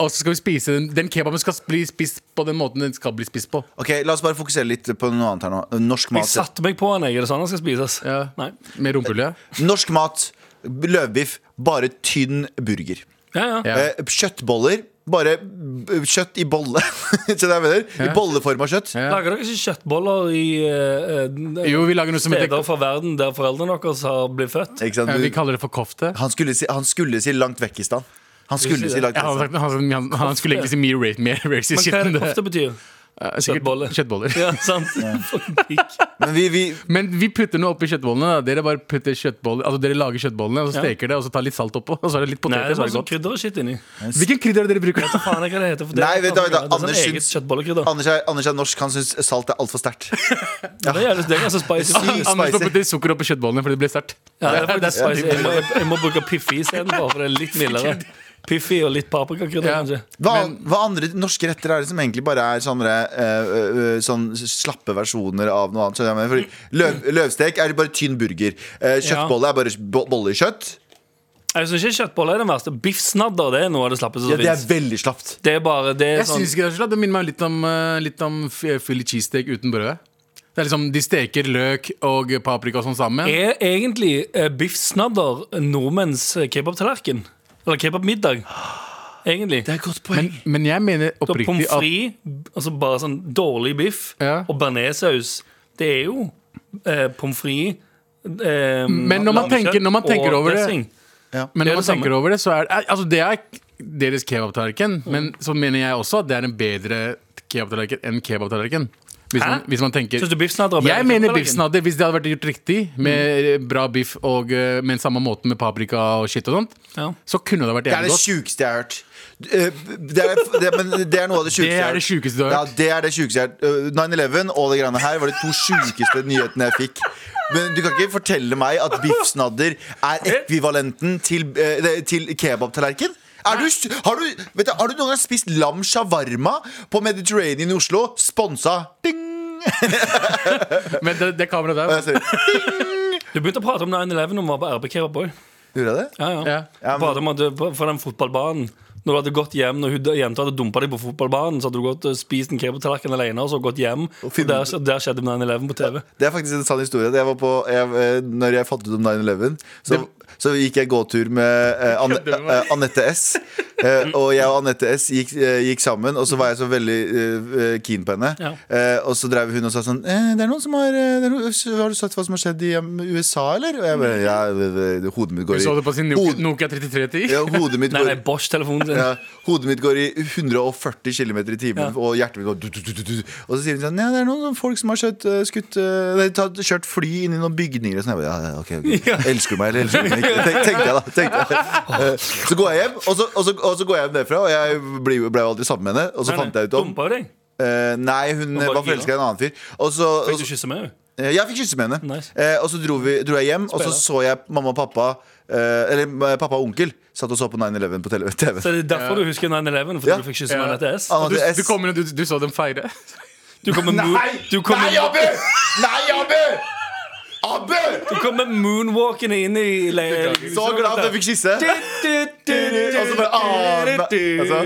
Speaker 4: Og så skal vi spise den. Den kebaben skal bli spist på den måten den skal bli spist på.
Speaker 3: ok, La oss bare fokusere litt på noe annet her nå. Norsk
Speaker 2: Jeg
Speaker 3: mat.
Speaker 2: satte meg på den. jeg. Er det sånn den skal spises?
Speaker 4: Ja.
Speaker 2: Nei.
Speaker 4: Med rumpehullet.
Speaker 3: Norsk mat, løvbiff, bare tynn burger.
Speaker 2: Ja, ja.
Speaker 4: Ja.
Speaker 3: Eh, kjøttboller, bare b- kjøtt i bolle. *laughs* Skjønner du hva jeg mener? I bolleform av kjøtt.
Speaker 4: Ja.
Speaker 2: Lager dere ikke kjøttboller i eh, eh,
Speaker 4: Jo, vi lager noe som heter
Speaker 2: steder fra verden der foreldrene deres har blitt født?
Speaker 3: Ikke sant?
Speaker 4: ja,
Speaker 3: Du,
Speaker 4: Vi kaller det for kofte.
Speaker 3: han, skulle si, han skulle si langt vekk i stad. Han skulle si langt
Speaker 4: Ja, han,
Speaker 3: vekk. i
Speaker 4: han, han, han, han skulle egentlig si mye rape mer
Speaker 2: Men
Speaker 4: racist shit
Speaker 2: hva er
Speaker 4: enn
Speaker 2: det
Speaker 4: det.
Speaker 2: kofte betyr?
Speaker 4: Eh, sikkert
Speaker 2: Kjøttboller.
Speaker 4: kjøttboller.
Speaker 2: Ja, sant? *laughs* Fucking pikk.
Speaker 3: stad. Men vi, vi,
Speaker 4: Men vi putter noe oppi kjøttbollene. Da. Dere bare putter kjøttboller Altså dere lager kjøttbollene, og så
Speaker 2: Ja.
Speaker 4: steker det, og så tar litt salt oppå. Og så er det litt
Speaker 2: Nei, det er
Speaker 4: poteter. så er
Speaker 2: bare
Speaker 4: det
Speaker 2: sånn
Speaker 4: godt.
Speaker 2: krydder og shit inni.
Speaker 4: Hvilken krydder er det dere bruker?
Speaker 2: Hva faen er hva det heter? For det
Speaker 3: Nei,
Speaker 2: er
Speaker 3: vet du hva,
Speaker 2: det er sånn
Speaker 3: Anders
Speaker 2: eget
Speaker 3: syns-
Speaker 2: kjøttbollekrydder.
Speaker 3: Anders, er, Anders er norsk, han syns salt er altfor sterkt.
Speaker 2: Ja, det er jævlig- det er ganske spicy.
Speaker 3: Sykt.
Speaker 4: Anders
Speaker 3: spicy.
Speaker 4: putter sukker oppi kjøttbollene fordi det blir sterkt.
Speaker 2: Ja, det er
Speaker 4: Det er
Speaker 2: faktisk spicy. Jeg må, jeg må bruke piffi istedenfor, for det er litt mildere. Piffi og litt paprikakrydder,
Speaker 4: Ja.
Speaker 2: kanskje.
Speaker 3: Hva, hva andre norske retter er det som egentlig bare er sånne, eh, eh, sånn slappe versjoner av noe annet? skjønner jeg hva jeg mener? Fordi løv, løvstek er bare tynn burger. Eh, Kjøttbolle er bare bo- bolle i kjøtt.
Speaker 2: Jeg syns ikke kjøttboller er det verste. Biffsnadder det er noe av det slappeste
Speaker 3: Ja,
Speaker 2: som
Speaker 3: det er
Speaker 2: fins.
Speaker 3: veldig slapt.
Speaker 2: Det er bare det er
Speaker 4: Jeg
Speaker 2: sånn
Speaker 4: synes ikke det er så slett. Det minner meg litt om, eh, litt om f- Philly cheesesteak uten brød. Det er liksom, De steker løk og paprika og sånn sammen.
Speaker 2: Er egentlig eh, biffsnadder nordmenns eh, kebabtallerken? Eller kebabmiddag? Egentlig.
Speaker 3: er et godt
Speaker 4: Men, men jeg mener
Speaker 2: Så Pommes
Speaker 4: oppriktig at
Speaker 2: frites, altså bare sånn dårlig biff,
Speaker 4: Ja.
Speaker 2: og bearnéssaus, det er jo eh, pommes frites eh,
Speaker 4: Men når man
Speaker 2: lammekjøtt
Speaker 4: tenker- når man tenker
Speaker 2: og
Speaker 4: over det-
Speaker 2: dressing.
Speaker 4: Men
Speaker 2: Det er
Speaker 4: når man
Speaker 2: det samme.
Speaker 4: tenker over det, så er eh, Altså, det er deres kebabtallerken, men så mener jeg også at det er en bedre kebabtallerken enn kebabtallerken. Hvis,
Speaker 2: Hæ?
Speaker 4: man- hvis man tenker
Speaker 2: Synes du biffsnadder er bedre
Speaker 4: Jeg
Speaker 2: enn
Speaker 4: mener
Speaker 2: kebabtallerken? Mm.
Speaker 4: biffsnadder, hvis det hadde vært gjort riktig, med eh, bra biff og eh, med samme måten med paprika og shit og sånt,
Speaker 2: Ja.
Speaker 4: så kunne det vært
Speaker 3: Det er
Speaker 4: jævlig
Speaker 3: det
Speaker 4: godt.
Speaker 3: sjukeste jeg har hørt. Eh, Det er, det, men det er noe av det sjukeste
Speaker 4: *laughs* Det er det sjukeste du har hørt.
Speaker 3: Ja, det er det sjukeste jeg har hørt. Eh, 9-11 og det greiene her var de to sjukeste nyhetene jeg fikk. Men du kan ikke fortelle meg at biffsnadder er ekvivalenten til, eh, det- til kebabtallerken? Er du, s- har, du, vet du, har du noen gang spist lam shawarma på Mediterranean i Oslo? Sponsa! Ding!
Speaker 4: Men det, det kameraet der
Speaker 3: Eh, sorry.
Speaker 2: Du begynte å prate om 9-11 når vi var på RB Kebab òg.
Speaker 3: Gjorde jeg det?
Speaker 2: Ja, ja.
Speaker 4: Ja.
Speaker 3: Ja, men-
Speaker 2: Prate om at du- på- fra den fotballbanen. Når du hadde gått hjem Når hun- jenta hadde dumpa deg på fotballbanen, så hadde du gått og spist en kebabtallerken alene og så gått hjem. Og
Speaker 3: filmet
Speaker 2: der, der skjedde 9-11 på TV.
Speaker 3: Det er faktisk en sann historie. Jeg var på, jeg, eh, når jeg fant ut om 9-11, så, så gikk jeg gåtur med eh, Anne-
Speaker 4: Kødder du med meg?
Speaker 3: eh, Anette S. Eh, og jeg og Anette S gikk, eh, gikk sammen, og så var jeg så veldig eh, keen på henne.
Speaker 2: Ja.
Speaker 3: Eh, og så drev hun og sa sånn eh, det er noen som har, eh, det er noen, Har du sett hva som har skjedd i um, USA, eller? Og jeg bare Ja, eh, eh, hodet mitt
Speaker 4: Du
Speaker 3: går i
Speaker 4: så det på sin Nokia,
Speaker 3: Hod-
Speaker 4: Nokia 3310.
Speaker 3: ja, hodet mitt
Speaker 2: Nei,
Speaker 3: går
Speaker 2: nei, Bosch-telefonen sin.
Speaker 3: ja, hodet mitt går i 140 km i timen, og hjertet mitt går du, du, du, du, du. Og så sier de sånn Ja, det er noen sånne folk som har kjørt, eh, skutt, eh, nei, tatt, kjørt fly inn i noen bygninger. Og sånn, jeg bare, ja, ja, ok, ok.
Speaker 2: Ja.
Speaker 3: Elsker du meg, eller elsker du meg ikke? Tenk, tenkte jeg, da. Tenkte jeg. Eh, Så går jeg hjem, og så, og så, og så går jeg hjem derfra. Og jeg ble, jo- ble jo aldri sammen med henne. Og så
Speaker 2: Nei,
Speaker 3: fant jeg ut om
Speaker 2: Dumpa jo deg.
Speaker 3: eh, Nei, hun
Speaker 2: bare
Speaker 3: var
Speaker 2: gira.
Speaker 3: forelska i en annen fyr. Og så,
Speaker 2: Fikk
Speaker 3: og
Speaker 2: du
Speaker 3: så
Speaker 2: kysse med henne?
Speaker 3: Eh, Jeg fikk kysse med henne.
Speaker 2: Nice.
Speaker 3: Eh, og så dro, vi, dro jeg hjem, og så
Speaker 2: Spennende.
Speaker 3: så jeg mamma og pappa eh, Eller eh, pappa og onkel satt og så på 9-11 på tele- TV.
Speaker 2: Så det er derfor du husker 9-11? Fordi
Speaker 3: Ja. Ah.
Speaker 2: du fikk kysse
Speaker 4: Ja.
Speaker 2: med Anette S?
Speaker 3: Anna
Speaker 4: Du,
Speaker 3: til S.
Speaker 4: du, kommer, og du, du så dem feire.
Speaker 2: Du kommer moon, du kommer,
Speaker 3: Nei, Abu! Nei, Abu! Abu!
Speaker 2: du kommer moonwalkende inn i le-
Speaker 3: Så glad for at jeg fikk kysse.
Speaker 2: Du, du, du, du,
Speaker 3: Og så bare ah,
Speaker 2: du,
Speaker 3: nei,
Speaker 2: du.
Speaker 3: altså,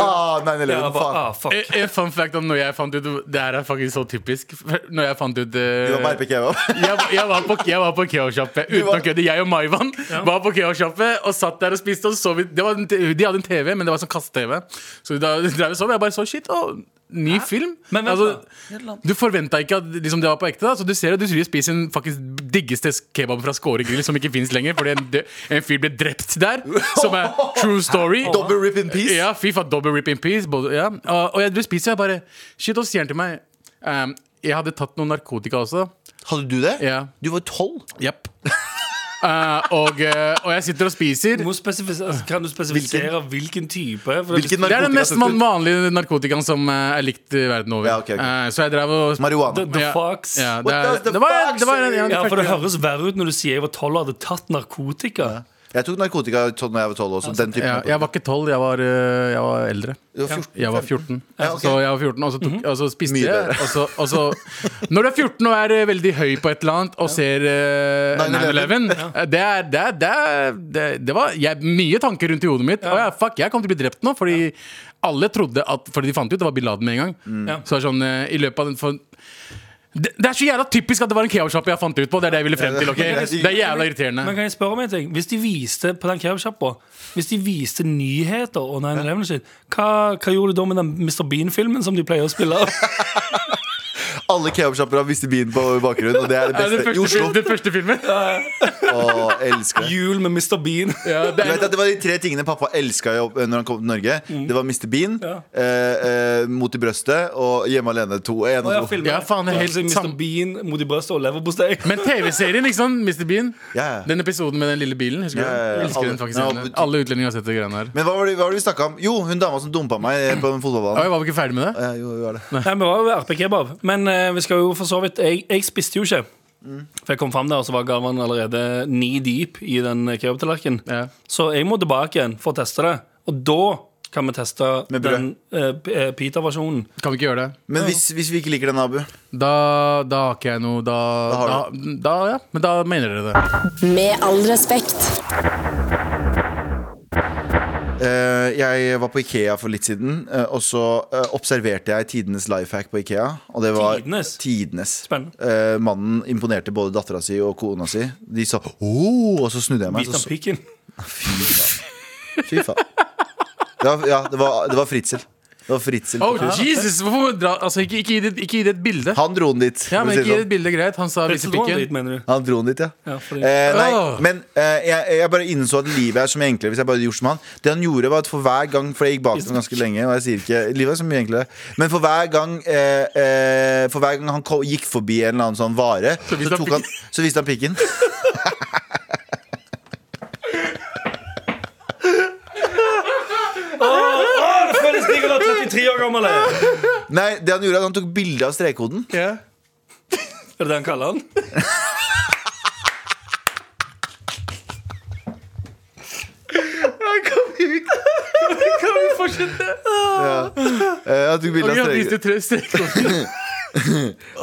Speaker 3: ah, 9-11,
Speaker 2: Ja, bare,
Speaker 3: faen.
Speaker 2: ah, fuck.
Speaker 4: En en Eh, fun fact om når jeg fant ut Det her er faktisk så typisk. Når jeg fant ut eh,
Speaker 3: Du var på RPK
Speaker 4: *laughs*
Speaker 3: også.
Speaker 4: jeg, jeg var på, jeg var på kebabsjappe uten
Speaker 3: var-
Speaker 4: å kødde. Jeg og Maivan var på kebabsjappe og satt der og spiste. Og så vi, det var, en te- de hadde en TV, men det var sånn kaste-TV. Så da *laughs* drev vi sånn. Jeg bare så shit. Og ny film.
Speaker 2: Men vent
Speaker 4: altså, du forventa ikke at liksom, det var på ekte, da. Så du ser det. Du tror de spiser en faktisk diggeste kebab fra Skåre grill som ikke fins lenger, fordi en, dø- en fyr ble drept der. Som er true story.
Speaker 3: *laughs* Double rip in peace.
Speaker 4: Ja, fy faen, double rip in peace både, ja. Og, og jeg ble spist, og jeg bare Shit, og så sier han til meg ehm, Jeg hadde tatt noe narkotika også
Speaker 3: Hadde du det?
Speaker 4: Ja.
Speaker 3: Du var tolv?
Speaker 4: Jepp *laughs* Eh, og, eh, og jeg sitter og spiser
Speaker 2: Du må spesifis- altså, Kan du spesifisere hvilken, type? For
Speaker 3: Hvilken
Speaker 4: Det er den mest
Speaker 3: Narkotika-
Speaker 4: man- vanlige narkotikaen som eh, er likt i verden over
Speaker 3: Ja, ok, ok.
Speaker 4: Eh, Så jeg drev og
Speaker 2: The,
Speaker 3: Marihuana.
Speaker 2: the
Speaker 4: ja,
Speaker 2: fox.
Speaker 4: ja, det,
Speaker 3: What
Speaker 4: er-
Speaker 3: does the
Speaker 4: det var,
Speaker 3: fox
Speaker 4: det var, ja,
Speaker 3: say?
Speaker 4: det
Speaker 2: Ja, for Det
Speaker 4: første-
Speaker 2: høres verre ut når du sier jeg var tolv og hadde tatt narkotika.
Speaker 3: Jeg tok narkotika sånn da jeg var tolv også. Den typen
Speaker 4: Ja, jeg var ikke tolv, jeg, var, øh, jeg var eldre.
Speaker 3: Du var 14,
Speaker 4: Jeg var 14.
Speaker 3: Ja, ok.
Speaker 4: Så jeg var 14, og så, tok, og så spiste
Speaker 3: Mye
Speaker 4: jeg.
Speaker 3: bedre.
Speaker 4: Og så, og så, når du er 14 og er øh, veldig høy på et eller annet og ser øh,
Speaker 3: 9/11.
Speaker 4: 9-11 eh, det, er- det, er- det, er- det- det var jeg, mye tanker rundt i hodet mitt. Å ja, fuck, jeg kommer til å bli drept nå. Fordi alle trodde at Fordi de fant ut det var bin Laden med en gang.
Speaker 2: Ja.
Speaker 4: Så det er sånn øh, i løpet av den for, det, det er så jævla typisk at det var en kebabsjappe jeg fant ut på. Det er det jeg ville frem til. ok? Det er jævla irriterende.
Speaker 2: Men kan jeg spørre om en ting? Hvis de viste på den kebabsjappa Hvis de viste nyheter og 9-11 og shit, hva, hva gjorde du da med den Mr. Bean-filmen som de pleier å spille? av?
Speaker 3: Alle kebabsjapper har Mr. Bean på bakgrunnen, og det er det
Speaker 4: *laughs* Ja,
Speaker 3: beste i Oslo.
Speaker 4: den første filmen.
Speaker 3: Å, elsker
Speaker 4: *laughs*
Speaker 3: det.
Speaker 2: Jul med Mr. Bean.
Speaker 4: Ja, det
Speaker 3: Du vet at Det var de tre tingene pappa elska når han kom til Norge.
Speaker 4: Mm.
Speaker 3: Det var Mr. Bean, eh, eh, Mot i brøstet og Hjemme alene 2. En
Speaker 2: Og jeg
Speaker 3: og to.
Speaker 2: filmer
Speaker 4: Ja, faen, det er helt
Speaker 2: Altså, Mr.
Speaker 4: sam-
Speaker 2: Bean mot i brøstet og leverpostei.
Speaker 4: Men TV-serien, ikke sant? Mr. Bean.
Speaker 3: Ja, ja.
Speaker 4: Den episoden med den lille bilen. Husker du?
Speaker 3: Ja, ja, ja.
Speaker 4: den? Elsker den faktisk
Speaker 3: Ja,
Speaker 4: alle,
Speaker 3: men-
Speaker 4: alle utlendinger har sett de greiene her.
Speaker 3: Men hva var det, hva var det vi snakka om? Jo, hun dama som dumpa meg på den
Speaker 4: Oi,
Speaker 3: fotballbanen.
Speaker 4: var vi ikke ferdig med det?
Speaker 3: Eh, jo, hun er det.
Speaker 2: Nei, vi var jo ved RP-kebab. Men eh, vi skal jo for så vidt Jeg, jeg spiste jo ikke.
Speaker 4: Mm.
Speaker 2: For jeg kom fram der, og så var Garvan allerede ni deep i den kebabtallerkenen.
Speaker 4: Ja.
Speaker 2: Så jeg må tilbake igjen for å teste det. Og da kan vi teste
Speaker 3: Med brød.
Speaker 2: den eh, p- eh, pita-versjonen.
Speaker 4: Kan vi ikke gjøre det?
Speaker 3: Men hvis, hvis vi ikke liker den, Abu
Speaker 4: Da, da har ikke jeg noe da,
Speaker 3: Da
Speaker 4: da,
Speaker 3: har
Speaker 4: da Ja, men da mener dere det.
Speaker 1: Med all respekt.
Speaker 3: Eh, jeg var på Ikea for litt siden, eh, og så eh, observerte jeg tidenes life hack på Ikea. Og det var
Speaker 2: Tidenes?
Speaker 3: tidenes.
Speaker 2: Spennende.
Speaker 3: Eh, mannen imponerte både dattera si og kona si. De sa oh, og så snudde jeg meg.
Speaker 2: Bit
Speaker 3: Så,
Speaker 2: av pikken.
Speaker 3: fy faen. Det var, ja, det var, det var fritsel. Det var fritsel.
Speaker 4: Oh, Jesus! Hvorfor må vi dra Altså, ikke, ikke, gi det, ikke gi det et bilde.
Speaker 3: Han dro den dit.
Speaker 4: Ja,
Speaker 3: for å
Speaker 4: men
Speaker 3: si det
Speaker 4: Ikke gi
Speaker 3: sånn.
Speaker 4: det et bilde, greit. Han sa vise
Speaker 2: Dit,
Speaker 4: pikken.
Speaker 2: mener du.
Speaker 3: Han dro den dit, ja.
Speaker 2: Ja, fordi-
Speaker 3: Eh, nei,
Speaker 4: Åh.
Speaker 3: men eh, jeg, jeg bare innså at livet er så mye enklere hvis jeg bare hadde gjort som han. Det han gjorde, var at for hver gang For jeg gikk bak ham ganske lenge, og jeg sier ikke Livet er så mye enklere. Men for hver gang eh, eh, For hver gang han ko- gikk forbi en eller annen sånn vare, så,
Speaker 4: viste han
Speaker 3: tok han, så viste han pikken.
Speaker 2: Det føles digg å være 33 år gammel. eh? Er
Speaker 3: Nei, det han gjorde, er at han tok bilde av strekkoden.
Speaker 4: Ja.
Speaker 2: det det han kaller han?
Speaker 4: *laughs* Kan vi fortsette?
Speaker 3: Eh, han tok bilde
Speaker 4: Ok,
Speaker 3: av
Speaker 4: han viste
Speaker 3: strekkoden.
Speaker 4: tre streker.
Speaker 3: *laughs*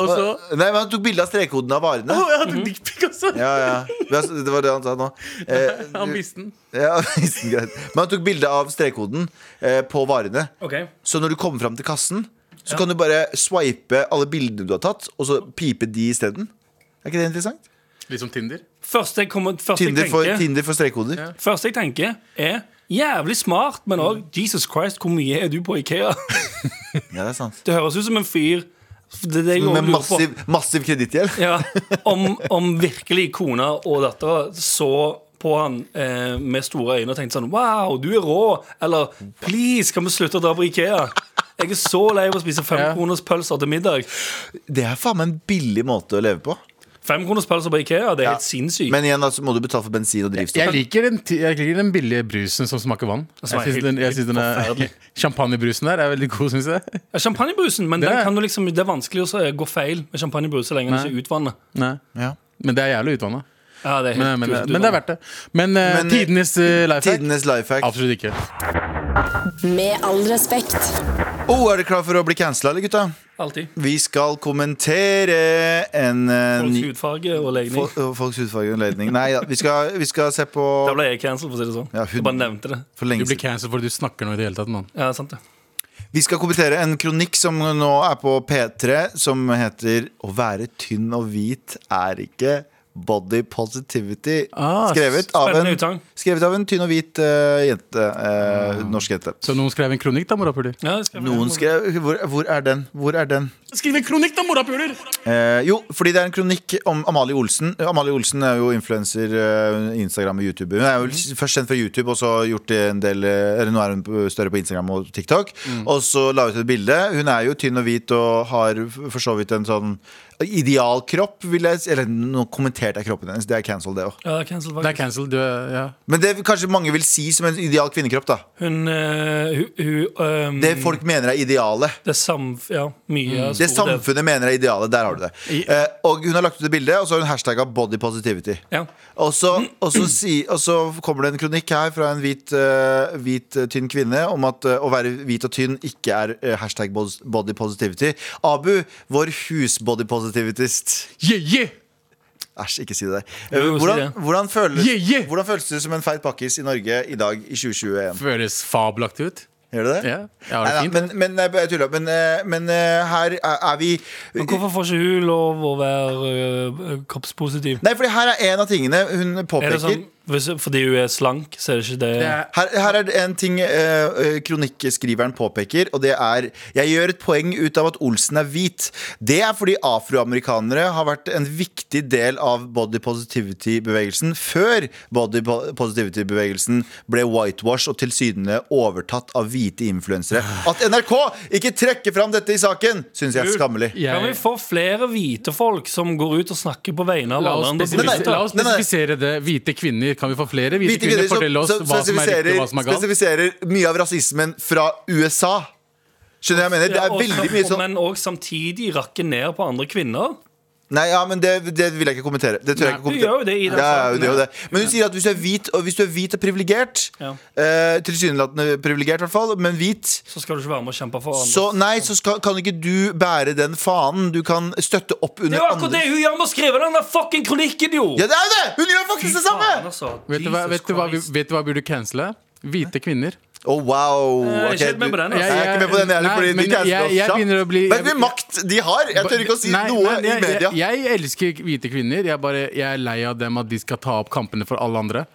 Speaker 4: Og så
Speaker 3: Nei, men han tok bilde av strekkoden av varene.
Speaker 4: Å, jeg hadde en dickpic også!
Speaker 3: Ja, ja. Det var det han sa
Speaker 4: *laughs*
Speaker 3: nå. Eh,
Speaker 4: Han viste den.
Speaker 3: ja, *laughs* greit. Men han tok bilde av strekkoden eh, på varene.
Speaker 2: Ok
Speaker 3: Så når du kommer fram til kassen, så kan du bare swipe alle bildene du har tatt, og så pipe de isteden. Er ikke det interessant?
Speaker 4: Litt som Tinder.
Speaker 2: Første jeg, kommer, første jeg
Speaker 3: Tinder for,
Speaker 2: tenker,
Speaker 3: Tinder for strekkoder.
Speaker 4: Ja.
Speaker 2: første jeg tenker, er jævlig smart, men òg Jesus Christ, hvor mye er du på Ikea? *laughs*
Speaker 3: Ja, det er sant.
Speaker 2: Det høres ut som en fyr det er det jeg også
Speaker 3: Med
Speaker 2: lurer på.
Speaker 3: massiv, massiv kredittgjeld.
Speaker 2: ja, om, om virkelig kona og dattera så på han eh, med store øyne og tenkte sånn Wow, du er rå! Eller please, kan vi slutte å dra på Ikea? Jeg er så lei av å spise femkronerspølser til middag.
Speaker 3: Det er faen meg en billig måte å leve på.
Speaker 2: Femkronerspølser på Ikea, det er
Speaker 3: Ja.
Speaker 2: helt sinnssykt.
Speaker 3: Men igjen, da så må du betale for bensin og drivstoff.
Speaker 4: Jeg liker, den, ti- jeg liker den billige brusen som smaker vann.
Speaker 2: Altså,
Speaker 4: Jeg synes
Speaker 2: helt-
Speaker 4: den, jeg synes den er,
Speaker 2: forferdelig.
Speaker 4: *laughs* Champagnebrusen der er veldig god, syns jeg.
Speaker 2: Ja, Champagnebrusen, men
Speaker 4: Det
Speaker 2: den
Speaker 4: er-
Speaker 2: kan du liksom, det er vanskelig å så- gå feil med champagnebrus så lenge den ikke utvanner.
Speaker 4: Nei.
Speaker 3: Ja.
Speaker 4: Men det er jævlig utvanna.
Speaker 2: Ja, det er helt
Speaker 4: Men, men,
Speaker 2: grusomt
Speaker 4: men det er verdt det. Men, eh,
Speaker 3: Men, eh,
Speaker 4: tidenes uh, life hack?
Speaker 3: Tidenes life hack.
Speaker 4: Absolutt ikke.
Speaker 1: Med all respekt.
Speaker 3: Oh, er dere klar for å bli cancela, eller gutta?
Speaker 2: utvannet. Alltid.
Speaker 3: Vi skal kommentere en eh,
Speaker 2: Folks
Speaker 3: ny
Speaker 2: hudfarge og legning.
Speaker 3: Fol- eh, Folks hudfarge og ledning. Nei da, vi skal, vi skal se på
Speaker 2: Da ble jeg cancelled, for å si det sånn.
Speaker 3: Ja, hun-
Speaker 2: Jeg bare nevnte det.
Speaker 3: For
Speaker 4: Du
Speaker 3: lenge
Speaker 4: blir
Speaker 3: siden.
Speaker 4: cancelled fordi du snakker nå i det hele tatt, mann.
Speaker 2: Ja, sant det.
Speaker 3: Vi skal kommentere en kronikk som nå er på P3, som heter 'Å være tynn og hvit er ikke body positivity'.
Speaker 4: Ah,
Speaker 3: skrevet, av
Speaker 2: spennende
Speaker 3: en,
Speaker 2: utsagn.
Speaker 3: skrevet av en tynn og hvit eh, jente. eh, norsk jente.
Speaker 4: Så noen skrev en kronikk, da, morapuler?
Speaker 2: Ja, det skal jeg-
Speaker 3: Noen skrev Hvor, hvor er den? Hvor er den?
Speaker 4: Skriv en kronikk, da, morapuler!
Speaker 3: Eh, jo, fordi det er en kronikk om Amalie Olsen. Eh, Amalie Olsen er jo influenser. eh, Instagram og YouTube. Hun er jo s- først kjent fra YouTube, og så gjort det en del eh, Eller nå er hun på- større på Instagram og TikTok. Og så la hun ut et bilde. Hun er jo tynn og hvit og har f- for så vidt en sånn Idealkropp vil jeg Eller nå kommenterte jeg kroppen hennes. Det er cancel, det òg.
Speaker 2: Ja, cancel,
Speaker 4: Det er
Speaker 2: faktisk.
Speaker 4: cancel, du er- ja.
Speaker 3: Men det kanskje mange vil si som en ideal kvinnekropp. da
Speaker 2: Hun, eh, hu- hu- ehm,
Speaker 3: Det folk mener er idealet.
Speaker 2: det er samf... Ja, mye. av
Speaker 3: Det
Speaker 2: store del-
Speaker 3: samfunnet mener er idealet. Der har du det.
Speaker 4: I-
Speaker 3: Eh, og hun har lagt ut et bilde, og så har hun hashtagga body positivity.
Speaker 2: Ja.
Speaker 3: Og så, og, så si, og så kommer det en kronikk her fra en hvit, eh, hvit eh, tynn kvinne om at eh, å være hvit og tynn ikke er eh, hashtag bod- body positivity. Abu, vår husbody positivist.
Speaker 4: Yeah, yeah!
Speaker 3: Æsj, ikke si det der. Eh,
Speaker 2: Jo, si
Speaker 3: hvordan,
Speaker 2: det.
Speaker 3: hvordan, føles,
Speaker 4: Yeah, yeah!
Speaker 3: hvordan føles det som en feit pakkis i Norge i dag i 2021?
Speaker 4: Føles fabelaktig ut.
Speaker 3: Gjør det det?
Speaker 4: Ja, jeg har det
Speaker 3: Neida,
Speaker 4: fint.
Speaker 3: men, men, nei, jeg tuller. Men, eh, men eh, her er- er vi
Speaker 2: Men hvorfor får ikke hun lov å være eh, kroppspositiv?
Speaker 3: Nei, for her er en av tingene hun
Speaker 2: Er
Speaker 3: påpeker.
Speaker 2: det sånn, hvis, fordi hun er slank, så er det ikke det,
Speaker 4: Det er
Speaker 3: Her, her er det en ting eh, eh, kronikkskriveren påpeker, og det er Jeg gjør et poeng ut av at Olsen er hvit. Det er fordi afroamerikanere har vært en viktig del av body positivity-bevegelsen før body po- positivity-bevegelsen ble whitewash og tilsynelatende overtatt av hvite influensere. At NRK ikke trekker fram dette i saken, syns jeg er skammelig.
Speaker 4: jeg-
Speaker 2: Kan vi få flere hvite folk som går ut og snakker på vegne av
Speaker 4: La
Speaker 2: alle
Speaker 4: oss,
Speaker 2: andre?
Speaker 3: Nei, nei,
Speaker 4: spesifisere, la oss
Speaker 3: nei, nei.
Speaker 4: spesifisere det. Hvite kvinner. Kan vi få flere hvite,
Speaker 3: Hvite
Speaker 4: kvinner?
Speaker 3: kvinner
Speaker 4: Fortell oss
Speaker 3: som, som
Speaker 4: hva som er riktig,
Speaker 3: spesifiserer,
Speaker 4: og hva som er galt.
Speaker 3: spesifiserer mye av rasismen fra USA. Skjønner du hva jeg mener? Det er
Speaker 2: og-
Speaker 3: veldig mye
Speaker 2: og-
Speaker 3: sånn
Speaker 2: Men òg samtidig rakke ned på andre kvinner.
Speaker 3: Nei, ja, men det, det vil jeg ikke kommentere. Det tør jeg ikke
Speaker 2: Nei, du
Speaker 3: kommentere.
Speaker 2: gjør jo det i den
Speaker 3: ja, ja,
Speaker 2: saken,
Speaker 3: det gjør
Speaker 2: ja.
Speaker 3: det. Men hun sier at hvis du er hvit og, hvis du er hvit og privilegert,
Speaker 2: Ja.
Speaker 3: eh, tilsynelatende privilegert i hvert fall, men hvit
Speaker 2: Så skal du ikke være med og kjempe for andre.
Speaker 3: så nei, så skal, kan ikke du bære den fanen. Du kan støtte opp
Speaker 2: det
Speaker 3: under
Speaker 2: er jo akkurat det
Speaker 3: andre.
Speaker 2: hun gjør med å skrive den der fucking kronikken, jo!
Speaker 3: Ja, det er jo det! Hun gjør faktisk det samme!
Speaker 2: Faen, altså.
Speaker 4: Vet du, hva,
Speaker 2: Jesus
Speaker 4: vet, du hva, vi-
Speaker 2: Christ.
Speaker 4: vet du hva burde cancele? Hvite kvinner.
Speaker 3: Å, Oh, wow.
Speaker 2: Jeg er
Speaker 3: ok,
Speaker 2: ikke helt med på
Speaker 3: du-
Speaker 2: den.
Speaker 3: Jeg
Speaker 2: Altså.
Speaker 3: er ikke med på den heller,
Speaker 4: Nei,
Speaker 3: fordi
Speaker 4: men
Speaker 3: de cancela
Speaker 4: jeg- jeg
Speaker 3: oss
Speaker 4: begynner å bli-
Speaker 3: Men hvilken makt de har! Jeg tør ikke å si
Speaker 4: Nei,
Speaker 3: noe
Speaker 4: nei, jeg-
Speaker 3: i media.
Speaker 4: Jeg, jeg elsker hvite kvinner. Jeg, bare, jeg er lei av dem at de skal ta opp kampene for alle andre.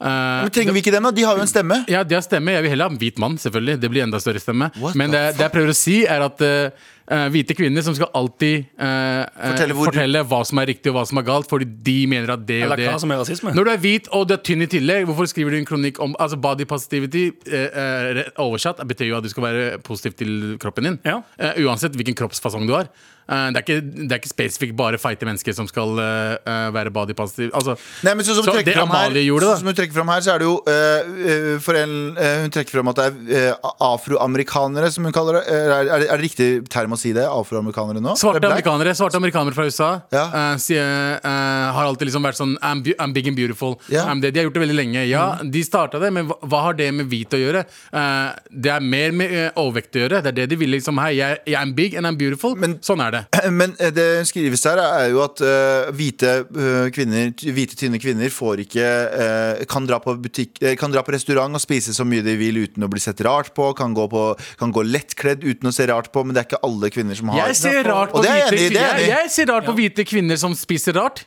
Speaker 4: Eh,
Speaker 3: Men trenger vi ikke dem, da? De har jo en stemme.
Speaker 4: Ja, det har stemme. Jeg vil heller ha en hvit mann, selvfølgelig. Det blir enda større stemme.
Speaker 3: What
Speaker 4: Men
Speaker 3: the
Speaker 4: det, det jeg prøver å si, er at eh, eh, hvite kvinner som skal alltid eh, eh,
Speaker 3: Fortelle hvor-
Speaker 4: fortelle hva som er riktig og hva som er galt, fordi de mener at det og
Speaker 2: Eller
Speaker 4: det
Speaker 2: hva som er rasisme.
Speaker 4: Når du er hvit og du er tynn i tillegg, hvorfor skriver du en kronikk om altså body positivity? eh, eh, re- oversatt betyr jo at du skal være positiv til kroppen din.
Speaker 2: Ja.
Speaker 4: Eh, uansett hvilken kroppsfasong du har. Eh, det, er ikke, det er ikke spesifikt bare feite mennesker som skal eh, eh, være body positive. Altså,
Speaker 3: Nei, men sånn som
Speaker 4: Så
Speaker 3: hun trekker
Speaker 4: det
Speaker 3: fram her,
Speaker 4: Amalie gjorde, da.
Speaker 3: sånn som hun trekker fram her, så er det jo øh, øh, for en, øh, Hun trekker fram at det er øh, afroamerikanere, som hun kaller det. Eh, er, er, det- er det riktig term å si det? Afroamerikanere nå? Er
Speaker 4: Svarte
Speaker 3: det black?
Speaker 4: amerikanere, svarte amerikanere fra USA
Speaker 3: Ja.
Speaker 4: eh, sier, eh, har alltid liksom vært sånn I'm, bu- I'm big and beautiful.
Speaker 3: Ja. Mm.
Speaker 4: I'm det. De har gjort det veldig lenge. Ja, de starta det, men hva, hva har det med hvit å gjøre? Eh, det er mer med eh, overvekt å gjøre. Det er det de vil. liksom Hei, jeg, jeg er big and I'm beautiful.
Speaker 3: Men-
Speaker 4: sånn er
Speaker 3: *laughs*
Speaker 4: det.
Speaker 3: Men eh, det hun skrives her, er jo at eh, hvite, eh, kvinner, hvite, tynne kvinner får ikke eh, kan, dra på butikk, eh, kan dra på restaurant og spise så mye de vil uten å bli sett rart på. Kan gå, på, kan gå lettkledd uten å se rart på, men det er ikke alle kvinner som har
Speaker 4: Jeg ser rart på
Speaker 3: Og det er jeg
Speaker 4: hvite
Speaker 3: enig i, det er
Speaker 4: kvinner
Speaker 3: jeg enig i.
Speaker 4: Jeg- Jeg ser rart på hvite kvinner som spiser rart.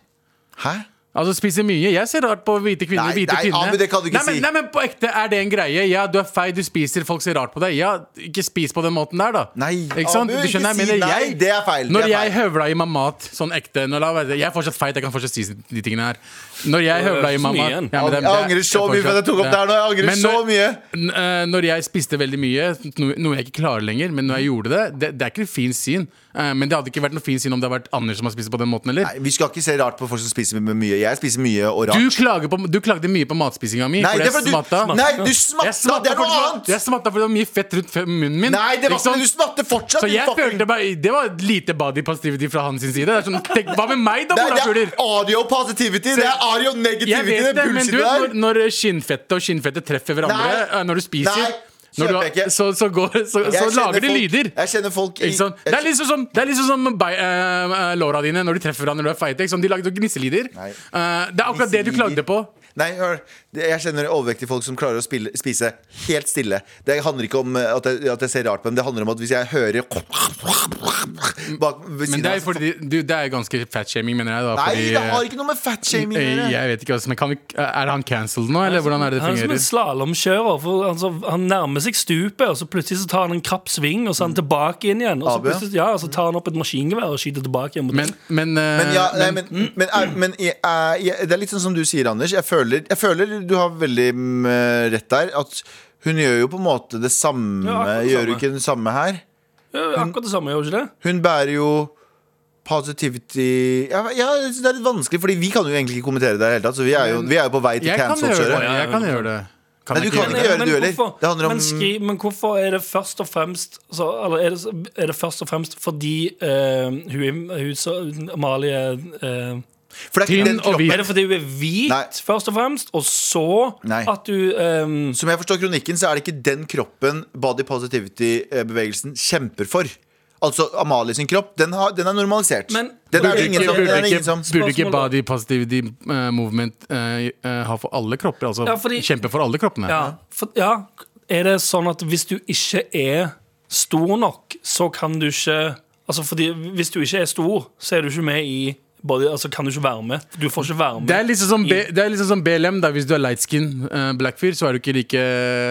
Speaker 3: Hæ?
Speaker 4: Altså spiser mye. Jeg ser rart på hvite kvinner.
Speaker 3: Nei,
Speaker 4: hvite
Speaker 3: nei,
Speaker 4: kvinner.
Speaker 3: Abu, det kan du ikke
Speaker 4: nei, men,
Speaker 3: si.
Speaker 4: Nei, men på ekte, er det en greie? Ja, du er feig, du spiser, folk ser rart på deg. Ja, ikke spis på den måten der, da.
Speaker 3: Nei,
Speaker 4: ikke sant?
Speaker 3: Abu,
Speaker 4: Du skjønner,
Speaker 3: ikke
Speaker 4: jeg
Speaker 3: si
Speaker 4: mener,
Speaker 3: nei,
Speaker 4: jeg,
Speaker 3: det er feil, det
Speaker 4: Når
Speaker 3: er
Speaker 4: jeg
Speaker 3: feil.
Speaker 4: høvla i meg mat sånn ekte nå la, meg- Jeg er fortsatt feit, jeg kan fortsatt si de tingene her. Når jeg
Speaker 2: Det er
Speaker 4: høvla i
Speaker 2: ikke så
Speaker 4: meg
Speaker 2: mye
Speaker 4: mat
Speaker 2: igjen.
Speaker 4: men det-
Speaker 3: Jeg angrer
Speaker 4: det-
Speaker 3: så mye for at jeg tok opp
Speaker 4: fortsatt-
Speaker 3: det her nå. Jeg angrer
Speaker 4: Men når-
Speaker 3: så mye.
Speaker 4: N- eh, Når jeg spiste veldig mye, no- noe jeg ikke klarer lenger, men når jeg gjorde det Det, det er ikke et fint syn. Eh, Men det hadde ikke vært noe fint syn om det hadde vært Anders som har spist på den måten, eller?
Speaker 3: Nei, Vi skal ikke se rart på folk som spiser med mye. Jeg spiser mye og rart.
Speaker 4: Du, klager på, du klagde mye på matspisinga mi.
Speaker 3: nei,
Speaker 4: fordi
Speaker 3: det er
Speaker 4: jeg
Speaker 3: fordi
Speaker 4: smatta.
Speaker 3: du, nei, du smatta!
Speaker 4: Jeg smatta
Speaker 3: Det er noe
Speaker 4: fordi-
Speaker 3: annet!
Speaker 4: Jeg smatta fordi det var mye fett rundt fe- munnen min.
Speaker 3: Nei, det var
Speaker 4: Ikke
Speaker 3: ikke
Speaker 4: sant?
Speaker 3: du smatter fortsatt!
Speaker 4: så
Speaker 3: din
Speaker 4: jeg
Speaker 3: fucking-
Speaker 4: følte bare, Det var lite body positivity fra hans side. Det er sånn, tenk, Hva med meg, da,
Speaker 3: Nei, det
Speaker 4: morapuler?
Speaker 3: er audio positivity, det er audio
Speaker 4: Jeg
Speaker 3: negativity,
Speaker 4: vet
Speaker 3: det
Speaker 4: det, men
Speaker 3: bullshit
Speaker 4: du, vet, når,
Speaker 3: der.
Speaker 4: når skinnfettet og skinnfettet treffer hverandre
Speaker 3: Nei.
Speaker 4: eh, når du spiser
Speaker 3: Nei,
Speaker 4: når du
Speaker 3: kjøper
Speaker 4: har,
Speaker 3: jeg ikke.
Speaker 4: så, så, går, så, så
Speaker 3: Jeg
Speaker 4: lager de
Speaker 3: kjenner folk-
Speaker 4: lyder.
Speaker 3: Jeg kjenner folk i
Speaker 4: Ikke sant? Det er litt sånn som, det er litt sånn som bei- eh, eh, låra dine når de treffer hverandre når du er feit. ikke sant? De lager gnisselyder.
Speaker 3: Nei.
Speaker 4: Eh, det er akkurat det du klagde på.
Speaker 3: Nei, hør, det- jeg kjenner overvektige folk som klarer å spille, spise helt stille. Det handler ikke om eh, at jeg, at jeg ser rart på dem, det handler om at hvis jeg hører bak, ved
Speaker 4: Men
Speaker 3: siden
Speaker 4: det
Speaker 3: av
Speaker 4: er, fordi, du, det er ganske fatshaming, mener jeg. Da,
Speaker 3: Nei,
Speaker 4: fordi,
Speaker 3: det har ikke noe med fatshaming å
Speaker 4: Eh,
Speaker 3: gjøre.
Speaker 4: Jeg vet ikke, altså, men kan vi, Er han cancelled nå, eller hvordan er det det
Speaker 2: Han er som en
Speaker 4: fungerer?
Speaker 2: slalåmkjører. for Altså, han nærmer seg stupet, og så plutselig så tar han en krapp sving, og så er han tilbake inn igjen. Og så,
Speaker 3: Abu, Mm. ja.
Speaker 2: plutselig, ja, og så tar han opp et maskingevær og skyter tilbake igjen. mot
Speaker 4: Men, men, eh,
Speaker 3: Men, ja, nei,
Speaker 4: men
Speaker 3: men, men, er- men jeg, er- jeg, det er litt sånn som du sier, Anders. Jeg føler, jeg føler du har veldig mm, rett der. At hun gjør jo på en måte det samme.
Speaker 2: Ja, akkurat det
Speaker 3: gjør hun
Speaker 2: samme.
Speaker 3: ikke det samme her?
Speaker 2: Ja, Akkurat det samme, gjør hun ikke det?
Speaker 3: Hun bærer jo Positivity ja, ja, jeg synes Det er litt vanskelig, Fordi vi kan jo egentlig ikke kommentere det. i det hele tatt Så vi er jo, vi er jo på vei til
Speaker 4: Jeg kan gjøre det.
Speaker 3: cancel-kjøret.
Speaker 4: Jeg kan gjøre det. Kan
Speaker 3: Nei,
Speaker 4: jeg
Speaker 3: du kan
Speaker 4: gjøre
Speaker 3: ikke
Speaker 4: det?
Speaker 3: gjøre det, du heller.
Speaker 2: hvorfor,
Speaker 3: Det handler om-
Speaker 2: men, skri, men hvorfor er det først og fremst så, Eller er det, er det først og fremst fordi eh, hun, hun så- Amalie eh,
Speaker 3: For det er
Speaker 4: Tynn
Speaker 3: ikke den
Speaker 4: og
Speaker 3: kroppen-
Speaker 4: hvit.
Speaker 2: Er det fordi hun er hvit,
Speaker 3: Nei.
Speaker 2: først og fremst, og så
Speaker 3: Nei.
Speaker 2: at du eh,
Speaker 3: Som jeg forstår kronikken, så er det ikke den kroppen body positivity-bevegelsen kjemper for. Altså Amalie sin kropp, den, har, den er normalisert.
Speaker 2: Men-
Speaker 3: den er
Speaker 4: Burde
Speaker 3: det ingen
Speaker 4: ikke,
Speaker 3: som, den er det
Speaker 4: burde
Speaker 3: ingen
Speaker 4: ikke,
Speaker 3: som
Speaker 4: burde ikke
Speaker 2: Spørsmålet-
Speaker 4: body positivity eh, movement eh, eh, ha for alle kropper? Altså
Speaker 2: Ja, fordi-
Speaker 4: kjempe for alle kroppene?
Speaker 2: ja, for, ja, er det sånn at hvis du ikke er stor nok, så kan du ikke Altså fordi Hvis du ikke er stor, så er du ikke med i body, altså kan du ikke være med. Du får ikke være med.
Speaker 4: Det er liksom som, B, det er liksom som BLM. Da. Hvis du er light skin eh, black fyr, så er du ikke like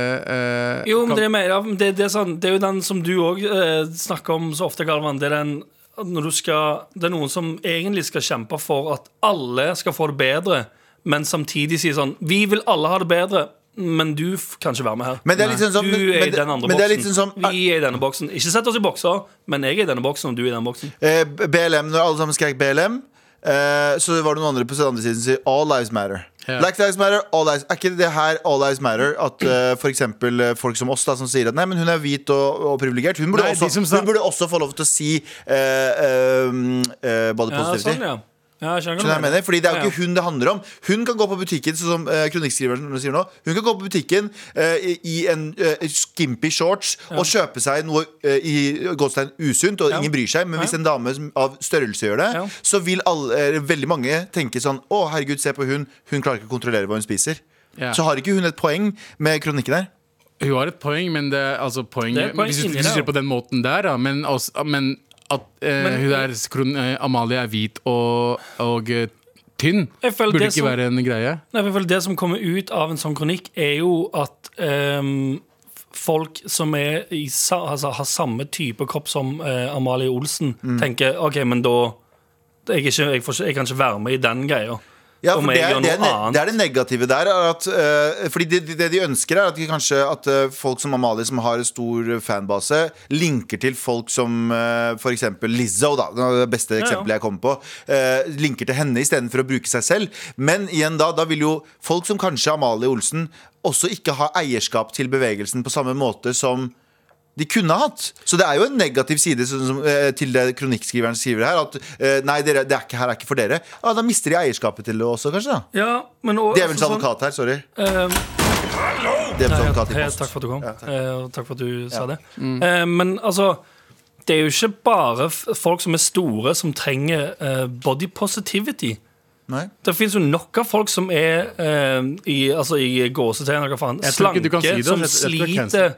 Speaker 4: eh,
Speaker 2: Jo, men
Speaker 4: kan-
Speaker 2: det er, mer, ja, men det, det, er sånn, det er jo den som du òg eh, snakker om så ofte, Galvan. Det er, den, at når du skal, det er noen som egentlig skal kjempe for at alle skal få det bedre, men samtidig sier sånn Vi vil alle ha det bedre, men du f kan ikke være med her.
Speaker 3: Men det er litt sånn som-
Speaker 2: du
Speaker 3: men-
Speaker 2: er
Speaker 3: men
Speaker 2: i
Speaker 3: det-
Speaker 2: den andre
Speaker 3: men det er litt
Speaker 2: boksen.
Speaker 3: sånn som-
Speaker 2: Vi er i denne boksen. Ikke sett oss i bokser, men jeg er i denne boksen, og du er i den boksen.
Speaker 3: eh, BLM, når alle sammen skrek BLM, eh, så var det noen andre på den andre siden som sier All lives matter.
Speaker 4: Ja.
Speaker 3: Black lives matter, all lives Er ikke det her all lives matter? At eh, for eksempel eh, folk som oss da som sier at nei, men hun er hvit og, og privilegert, hun, burde
Speaker 4: Nei, de
Speaker 3: også-
Speaker 4: som sa-
Speaker 3: hun burde også få lov til å si eh, eh, eh, body
Speaker 2: Ja,
Speaker 3: positivity.
Speaker 2: sånn, ja. Ja, jeg skjønner hva
Speaker 3: Skjønner du hva jeg mener? Fordi Det
Speaker 2: Ja,
Speaker 3: er jo
Speaker 2: ja.
Speaker 3: ikke hun det handler om. Hun kan gå på butikken sånn som eh, kronikkskriveren sier nå Hun kan gå på butikken eh, i- i en eh, skimpy shorts og kjøpe seg noe eh, i gåstein usunt, og
Speaker 2: Ja.
Speaker 3: ingen bryr seg. Men hvis
Speaker 2: Ja.
Speaker 3: en dame som- av størrelse gjør det,
Speaker 2: Ja.
Speaker 3: så vil alle, eh, veldig mange tenke sånn Å, herregud, se på hun. Hun klarer ikke å kontrollere hva hun spiser.
Speaker 4: Ja.
Speaker 3: Så har ikke hun et poeng med kronikken her.
Speaker 4: Hun har et poeng, men det, altså, poenget,
Speaker 2: Det er et poeng
Speaker 4: hvis, du-
Speaker 2: inni
Speaker 4: hvis
Speaker 2: det,
Speaker 4: du sier det på den måten der, da, men, også, men at eh,
Speaker 2: Men-
Speaker 4: hun der, skron, eh, Amalie er hvit og, og eh, tynn,
Speaker 2: Jeg føler
Speaker 4: burde
Speaker 2: det
Speaker 4: ikke
Speaker 2: som-
Speaker 4: være en greie.
Speaker 2: Nei, for Det som kommer ut av en sånn kronikk, er jo at ehm, f- folk som er i, sa, altså, har samme type kropp som eh, Amalie Olsen,
Speaker 3: Mm.
Speaker 2: tenker OK, men da jeg, er ikke, jeg, får ikke, jeg kan ikke være med i den greia.
Speaker 3: Ja,
Speaker 2: Om
Speaker 3: for
Speaker 2: jeg
Speaker 3: det, er,
Speaker 2: gjør
Speaker 3: det, er,
Speaker 2: noe
Speaker 3: ne- det er det negative der. Er at, eh, fordi det, det de ønsker, er at, de kanskje, at eh, folk som Amalie, som har en stor fanbase, linker til folk som uh, f.eks. Lizzo, da, det er det beste
Speaker 2: ja.
Speaker 3: eksempelet jeg kommer på, eh, linker til henne istedenfor å bruke seg selv. Men igjen da, da vil jo folk som kanskje Amalie Olsen også ikke ha eierskap til bevegelsen på samme måte som de kunne hatt. Så det er jo en negativ side som, som, eh, til det kronikkskriveren skriver her. At eh, nei, dere, det er ikke, her er ikke for dere. Ja, da mister de eierskapet til det også, kanskje. da
Speaker 2: Ja, men også,
Speaker 3: Djevelens advokat her, sorry.
Speaker 2: Altså, sånn- ehm,
Speaker 3: Djevelens
Speaker 2: Nei,
Speaker 3: advokat i
Speaker 2: hei,
Speaker 3: post.
Speaker 2: Takk for at du kom, Eh, og takk for at du sa det.
Speaker 4: Mm.
Speaker 2: Eh, Men altså, det er jo ikke bare f- folk som er store, som trenger eh, body positivity.
Speaker 3: Nei.
Speaker 2: Det fins jo nok av folk som er eh, i, altså, i gåsetegn eller hva faen,
Speaker 4: Jeg tror ikke du
Speaker 2: slanke,
Speaker 4: kan si det,
Speaker 2: som
Speaker 4: jeg tror- jeg tror det er
Speaker 2: sliter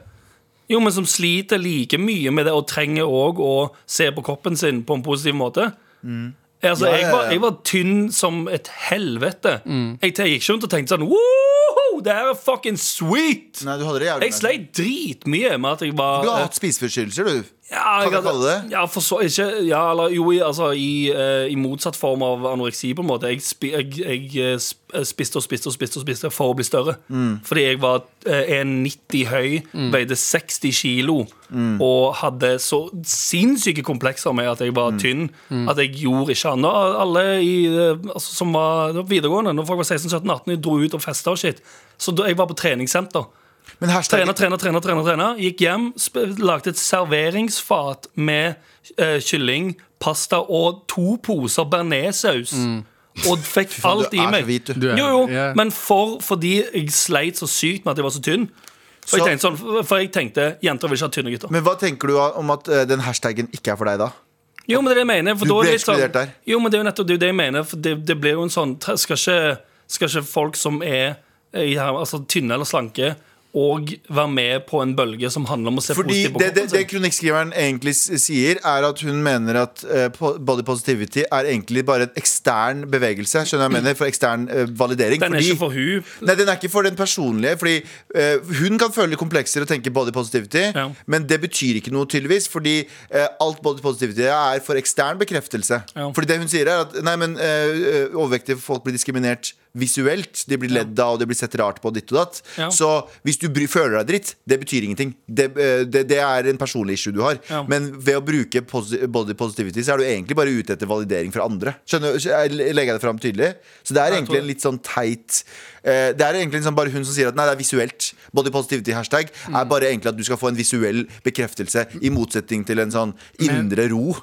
Speaker 2: Jo, men som sliter like mye med det, og trenger òg å se på kroppen sin på en positiv måte. Altså,
Speaker 3: Mm. Ja, ja,
Speaker 2: Jeg, var,
Speaker 3: ja.
Speaker 2: jeg var tynn som et helvete.
Speaker 4: Mm.
Speaker 2: Jeg, jeg gikk ikke rundt og tenkte sånn Woohoo, det her er fucking sweet!
Speaker 3: nei, du hadde det jævlig
Speaker 2: Jeg sleit dritmye med at jeg var
Speaker 3: Du har
Speaker 2: eh,
Speaker 3: hatt spiseforstyrrelser, du.
Speaker 2: ja,
Speaker 3: Kan
Speaker 2: jeg
Speaker 3: vi
Speaker 2: hadde-
Speaker 3: kalle det det?
Speaker 2: Ja, for så ikke ja, eller, Jo, i- altså, i, eh, i motsatt form av anoreksi, på en måte. Jeg, spi, jeg, jeg eh, sp- eh, spiste og spiste og spiste og spiste for å bli større.
Speaker 3: Mm.
Speaker 2: Fordi jeg var eh, 1,90 høy, veide 60 kilo
Speaker 3: Mm.
Speaker 2: og hadde så sinnssyke komplekser med at jeg var
Speaker 3: Mm.
Speaker 2: tynn, at jeg gjorde ikke annet. Alle i, eh, altså, som var det var videregående, når folk var 16-17-18, de dro ut og festa og shit. Så da, jeg var på treningssenter.
Speaker 3: Men hashtag
Speaker 2: Trener, trener, trener, trener, trener. Gikk hjem, sp lagde et serveringsfat med eh, kylling, pasta og to poser bearnéssaus. Og fikk
Speaker 3: Mm. Du
Speaker 2: alt i
Speaker 3: er så
Speaker 2: meg.
Speaker 3: hvit, du.
Speaker 4: Du er-
Speaker 2: Jo, jo,
Speaker 4: ja.
Speaker 2: men for, fordi jeg sleit så sykt med at jeg var så tynn. Og
Speaker 3: Så-
Speaker 2: jeg tenkte sånn, for jeg tenkte jenter vil ikke ha tynne gutter.
Speaker 3: Men hva tenker du om at eh, den hashtaggen ikke er for deg, da?
Speaker 2: Jo, men det er det jeg mener. For
Speaker 3: Du
Speaker 2: da er
Speaker 3: ble
Speaker 2: det litt sånn-
Speaker 3: ekskludert der.
Speaker 2: Jo, men det er jo nettopp det, er jo det jeg mener. For det, det blir jo en sånn tre- Skal ikke, skal ikke folk som er i, her- altså, tynne eller slanke, og være med på en bølge som handler om å se
Speaker 3: Fordi
Speaker 2: positivt på
Speaker 3: det, det,
Speaker 2: kroppen
Speaker 3: det
Speaker 2: sin?
Speaker 3: kronikkskriveren egentlig s- sier, er at hun mener at eh, po- body positivity er egentlig bare en ekstern bevegelse. Skjønner du hva jeg mener? For ekstern eh, validering.
Speaker 2: Den er
Speaker 3: fordi-
Speaker 2: ikke for hun.
Speaker 3: Nei, den er ikke for den personlige. Fordi eh, Hun kan føle komplekser og tenke body positivity,
Speaker 2: Ja.
Speaker 3: men det betyr ikke noe, tydeligvis. Fordi eh, alt body positivity er for ekstern bekreftelse.
Speaker 2: Ja.
Speaker 3: Fordi det hun sier, er at nei, men eh, eh, overvektige folk blir diskriminert visuelt. De blir ledd av, og det blir sett rart på, og ditt og datt.
Speaker 2: Ja.
Speaker 3: Så hvis du bry, føler deg dritt, det betyr ingenting. Det, eh, det, det er en personlig issue du har.
Speaker 2: Ja.
Speaker 3: Men ved å bruke posi body positivity, så er du egentlig bare ute etter validering fra andre. Skjønner, jeg legger jeg det fram tydelig? Så det er
Speaker 2: jeg tror
Speaker 3: egentlig en litt sånn teit eh, Det er egentlig liksom bare hun som sier at nei, det er visuelt. Body positivity-hashtag er
Speaker 2: Mm.
Speaker 3: bare egentlig at du skal få en visuell bekreftelse, i motsetning til en sånn indre ro.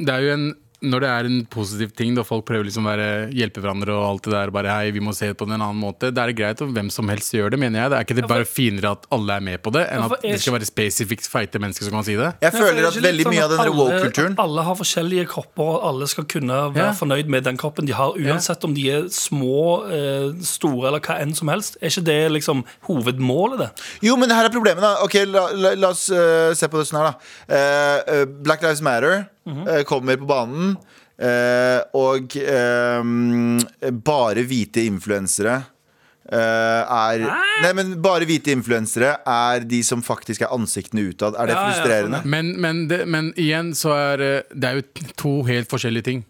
Speaker 4: Det er jo en når det er en positiv ting, da folk prøver liksom å være, hjelpe hverandre og alt det der, bare hei, vi må se det på en annen måte, da er det greit om hvem som helst gjør det, mener jeg. Det er ikke det bare finere at alle er med på det, enn
Speaker 2: Ja, for
Speaker 4: at det
Speaker 2: jeg-
Speaker 4: skal være spesifikt feite mennesker som kan si det.
Speaker 2: Ja,
Speaker 3: Jeg
Speaker 2: for
Speaker 3: føler
Speaker 2: er
Speaker 3: at
Speaker 2: ikke litt
Speaker 3: veldig
Speaker 2: sånn
Speaker 3: mye av
Speaker 2: at
Speaker 3: den
Speaker 2: alle-
Speaker 3: woke-kulturen
Speaker 2: Alle har forskjellige kropper, og alle skal kunne være
Speaker 4: Ja.
Speaker 2: fornøyd med den kroppen de har, uansett om de er små, eh, store eller hva enn som helst. Er ikke det liksom hovedmålet, det?
Speaker 3: Jo, men her er problemet, da. Ok, La, la, la oss eh, se på det sånn her, da. Eh, eh, Black Lives Matter
Speaker 2: Mhm.
Speaker 3: eh, kommer på banen, eh, og eh, bare hvite influensere eh, er Nei, men bare hvite influensere er de som faktisk er ansiktene utad. Er det
Speaker 2: Ja, ja,
Speaker 3: frustrerende?
Speaker 4: Men, men, det, men igjen så er eh, det er jo to helt forskjellige ting.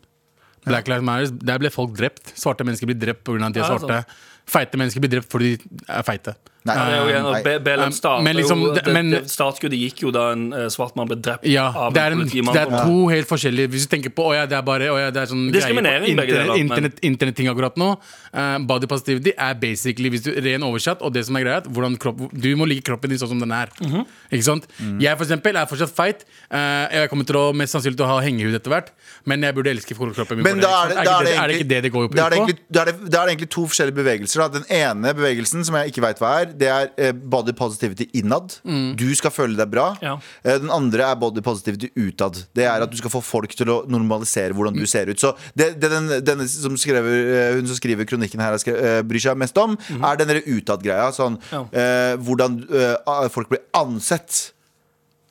Speaker 4: Black Lives Matter, der ble folk drept. Svarte mennesker blir drept pga. at de er
Speaker 2: Ja,
Speaker 4: svarte. Feite mennesker blir drept fordi de er feite.
Speaker 3: Nei,
Speaker 2: Det er jo
Speaker 3: nei.
Speaker 2: igjen, Be Belem
Speaker 4: um,
Speaker 2: startet
Speaker 4: men liksom,
Speaker 2: jo,
Speaker 4: det-
Speaker 2: det,
Speaker 4: men-
Speaker 2: det startskuddet gikk jo da en eh, svart mann ble drept
Speaker 4: Ja,
Speaker 2: av
Speaker 4: det er,
Speaker 2: en
Speaker 4: en,
Speaker 2: politimann.
Speaker 4: det er
Speaker 2: som-
Speaker 4: to helt forskjellige Hvis du tenker på åja, det er bare åja, det er sånn greier på
Speaker 2: Diskriminering, begge deler,
Speaker 4: internett-
Speaker 2: men-
Speaker 4: internett- Internetting akkurat nå. Eh, body positivity er basically hvis du, ren oversatt, og det som er greia, er at hvordan kropp, du må like kroppen din sånn som den er.
Speaker 2: Mhm.
Speaker 4: Ikke sant? Jeg for eksempel er fortsatt feit. Eh, jeg kommer til å mest sannsynlig til å ha hengehud etter hvert, men jeg burde elske kroppen min. for
Speaker 3: Men da er det,
Speaker 4: ikke
Speaker 3: da er det,
Speaker 4: er det ikke det det går ut på?
Speaker 3: da er det egentlig, da er det, da er det egentlig to forskjellige bevegelser. Da. Den ene bevegelsen, som jeg ikke veit hva er, det er eh, body positivity innad.
Speaker 4: Mm.
Speaker 3: Du skal føle deg bra.
Speaker 2: Ja.
Speaker 3: Eh, Den andre er body positivity utad. Det er at du skal få folk til å normalisere hvordan
Speaker 4: Mm.
Speaker 3: du ser ut. Så det, det den, denne som skrever, eh, hun som skriver kronikken her, har skre- eh, bryr seg mest om,
Speaker 4: Mm.
Speaker 3: er den derre utad-greia. Sånn
Speaker 2: Ja.
Speaker 3: eh, hvordan eh, ah, folk blir ansett.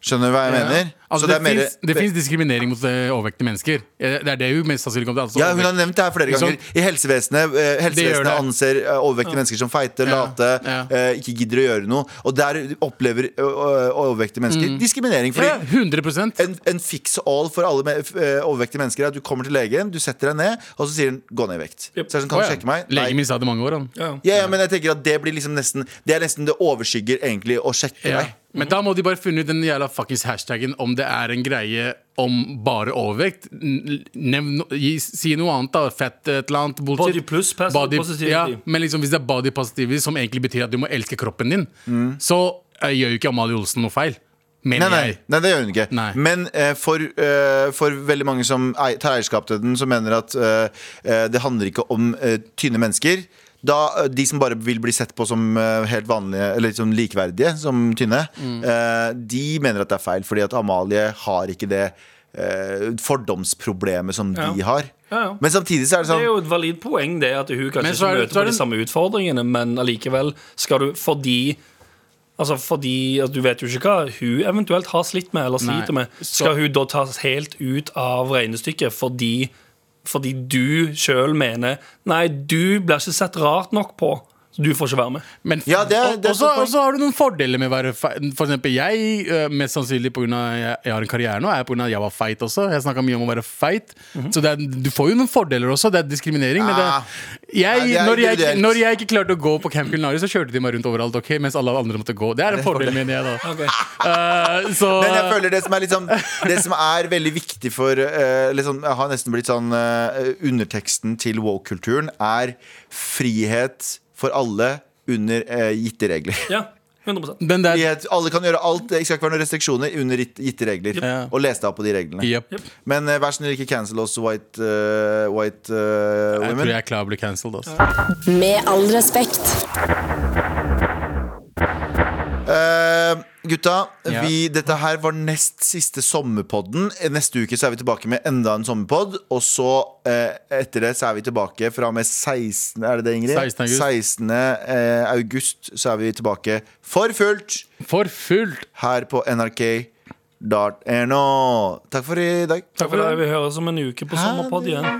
Speaker 3: Skjønner du hva jeg mener?
Speaker 4: Altså,
Speaker 3: Så
Speaker 4: det
Speaker 3: er mer-
Speaker 4: finnes- det fins diskriminering mot eh, overvektige mennesker. Eh, Det er det hun mest sannsynlig kommer til. altså
Speaker 3: Ja, hun har
Speaker 4: overvekt-
Speaker 3: nevnt det her flere
Speaker 4: Ikke
Speaker 3: ganger.
Speaker 4: sant?
Speaker 3: I helsevesenet, eh,
Speaker 4: Det gjør det.
Speaker 3: helsevesenet anser eh, overvektige mennesker som feite,
Speaker 4: Ja,
Speaker 3: late,
Speaker 4: ja.
Speaker 3: eh, ikke gidder å gjøre noe. Og der opplever ø, ø, overvektige mennesker diskriminering. Fordi
Speaker 4: Mm. ja, 100
Speaker 3: en, en fix all for alle me- f- eh, overvektige mennesker er at du kommer til legen, du setter deg ned, og så sier han 'gå ned i vekt'.
Speaker 2: Yep.
Speaker 3: Så er det sånn, kan du
Speaker 4: Å, ja.
Speaker 3: sjekke meg?
Speaker 4: Legen min sa det i mange år. Han.
Speaker 2: Ja.
Speaker 3: Ja, ja, men jeg tenker at det blir liksom nesten Det er nesten det overskygger egentlig å sjekke
Speaker 4: Ja.
Speaker 3: deg.
Speaker 4: Men da må de bare finne ut den jævla fuckings hashtaggen om det er en greie om bare overvekt. N- Nevn, no- gi, si noe annet, da. Fett et eller annet. Bullshit.
Speaker 2: Body plus pas- positivity.
Speaker 4: Ja, men liksom, hvis det er body positivity, som egentlig betyr at du må elske kroppen din, så eh, gjør jo ikke Amalie Olsen noe feil. Mener
Speaker 3: Nei, nei,
Speaker 4: jeg.
Speaker 3: nei, det gjør hun ikke.
Speaker 4: Nei.
Speaker 3: Men eh, for, eh, for veldig mange som ei, tar eierskap til den, som mener at eh, eh, det handler ikke om eh, tynne mennesker. Da, eh, de som bare vil bli sett på som eh, helt vanlige, eller liksom likeverdige som tynne, eh, de mener at det er feil, fordi at Amalie har ikke det eh, fordomsproblemet som
Speaker 2: Ja.
Speaker 3: de har.
Speaker 2: Ja, ja.
Speaker 3: Men samtidig så er det
Speaker 2: Det
Speaker 3: sånn
Speaker 2: er jo et valid poeng, det at hun kanskje
Speaker 4: Men så
Speaker 2: ikke
Speaker 4: er det-
Speaker 2: møter
Speaker 4: så er
Speaker 2: på de
Speaker 4: det-
Speaker 2: samme utfordringene, men allikevel skal du fordi Altså fordi at Du vet jo ikke hva hun eventuelt har slitt med eller
Speaker 4: Nei,
Speaker 2: sliter med.
Speaker 4: så-
Speaker 2: Skal hun da tas helt ut av regnestykket fordi, fordi du sjøl mener Nei, du blir ikke sett rart nok på, så du får ikke være med.
Speaker 4: Men
Speaker 3: Ja, det er- det er
Speaker 4: og-
Speaker 3: et
Speaker 4: også,
Speaker 3: godt poeng.
Speaker 4: også har du noen fordeler med å være feit. For eksempel jeg, eh, mest sannsynlig pga. jeg, jeg har en karriere nå, er pga. jeg var feit også. Jeg snakka mye om å være feit. Så det er, du får jo noen fordeler også. Det er diskriminering. Men det,
Speaker 3: Mhm. Ah.
Speaker 4: jeg,
Speaker 3: Nei, det er
Speaker 4: når, jeg, ikke-
Speaker 3: individuelt.
Speaker 4: når jeg ikke klarte å gå på Camp Culinaris, så kjørte de meg rundt overalt, ok? mens alle andre måtte gå. Det er en fordel, mener jeg da. Eh, så
Speaker 3: Men jeg føler det som er, litt sånn- det som er veldig viktig for eh, liksom, Jeg har nesten blitt sånn eh, Underteksten til woke-kulturen er frihet for alle under eh, gitte regler.
Speaker 2: Ja, 100
Speaker 4: den der
Speaker 3: Frihet, alle kan gjøre alt, det skal ikke være noen restriksjoner under gitt- gitte regler.
Speaker 4: Ja.
Speaker 3: Og les deg opp på de reglene.
Speaker 4: Jep.
Speaker 2: Jep.
Speaker 3: Men eh, vær snill, ikke cancel oss white, eh, white eh,
Speaker 4: Jeg tror
Speaker 3: women.
Speaker 4: jeg er klar til å bli cancelled. Altså.
Speaker 1: Med all respekt.
Speaker 3: Eh, gutta,
Speaker 4: Ja.
Speaker 3: vi, dette her var nest siste sommerpodden. Eh, Neste uke så er vi tilbake med enda en sommerpodd. Og så eh, etter det så er vi tilbake fra og med 16. Er det det, Ingrid?
Speaker 4: 16. august.
Speaker 3: 16. eh, august så er vi tilbake for fullt
Speaker 4: For fullt!
Speaker 3: her på nrk.no. Takk for i dag.
Speaker 2: Takk for det. Vi høres om en uke på
Speaker 3: Ha
Speaker 2: Sommerpod
Speaker 3: det.
Speaker 2: igjen.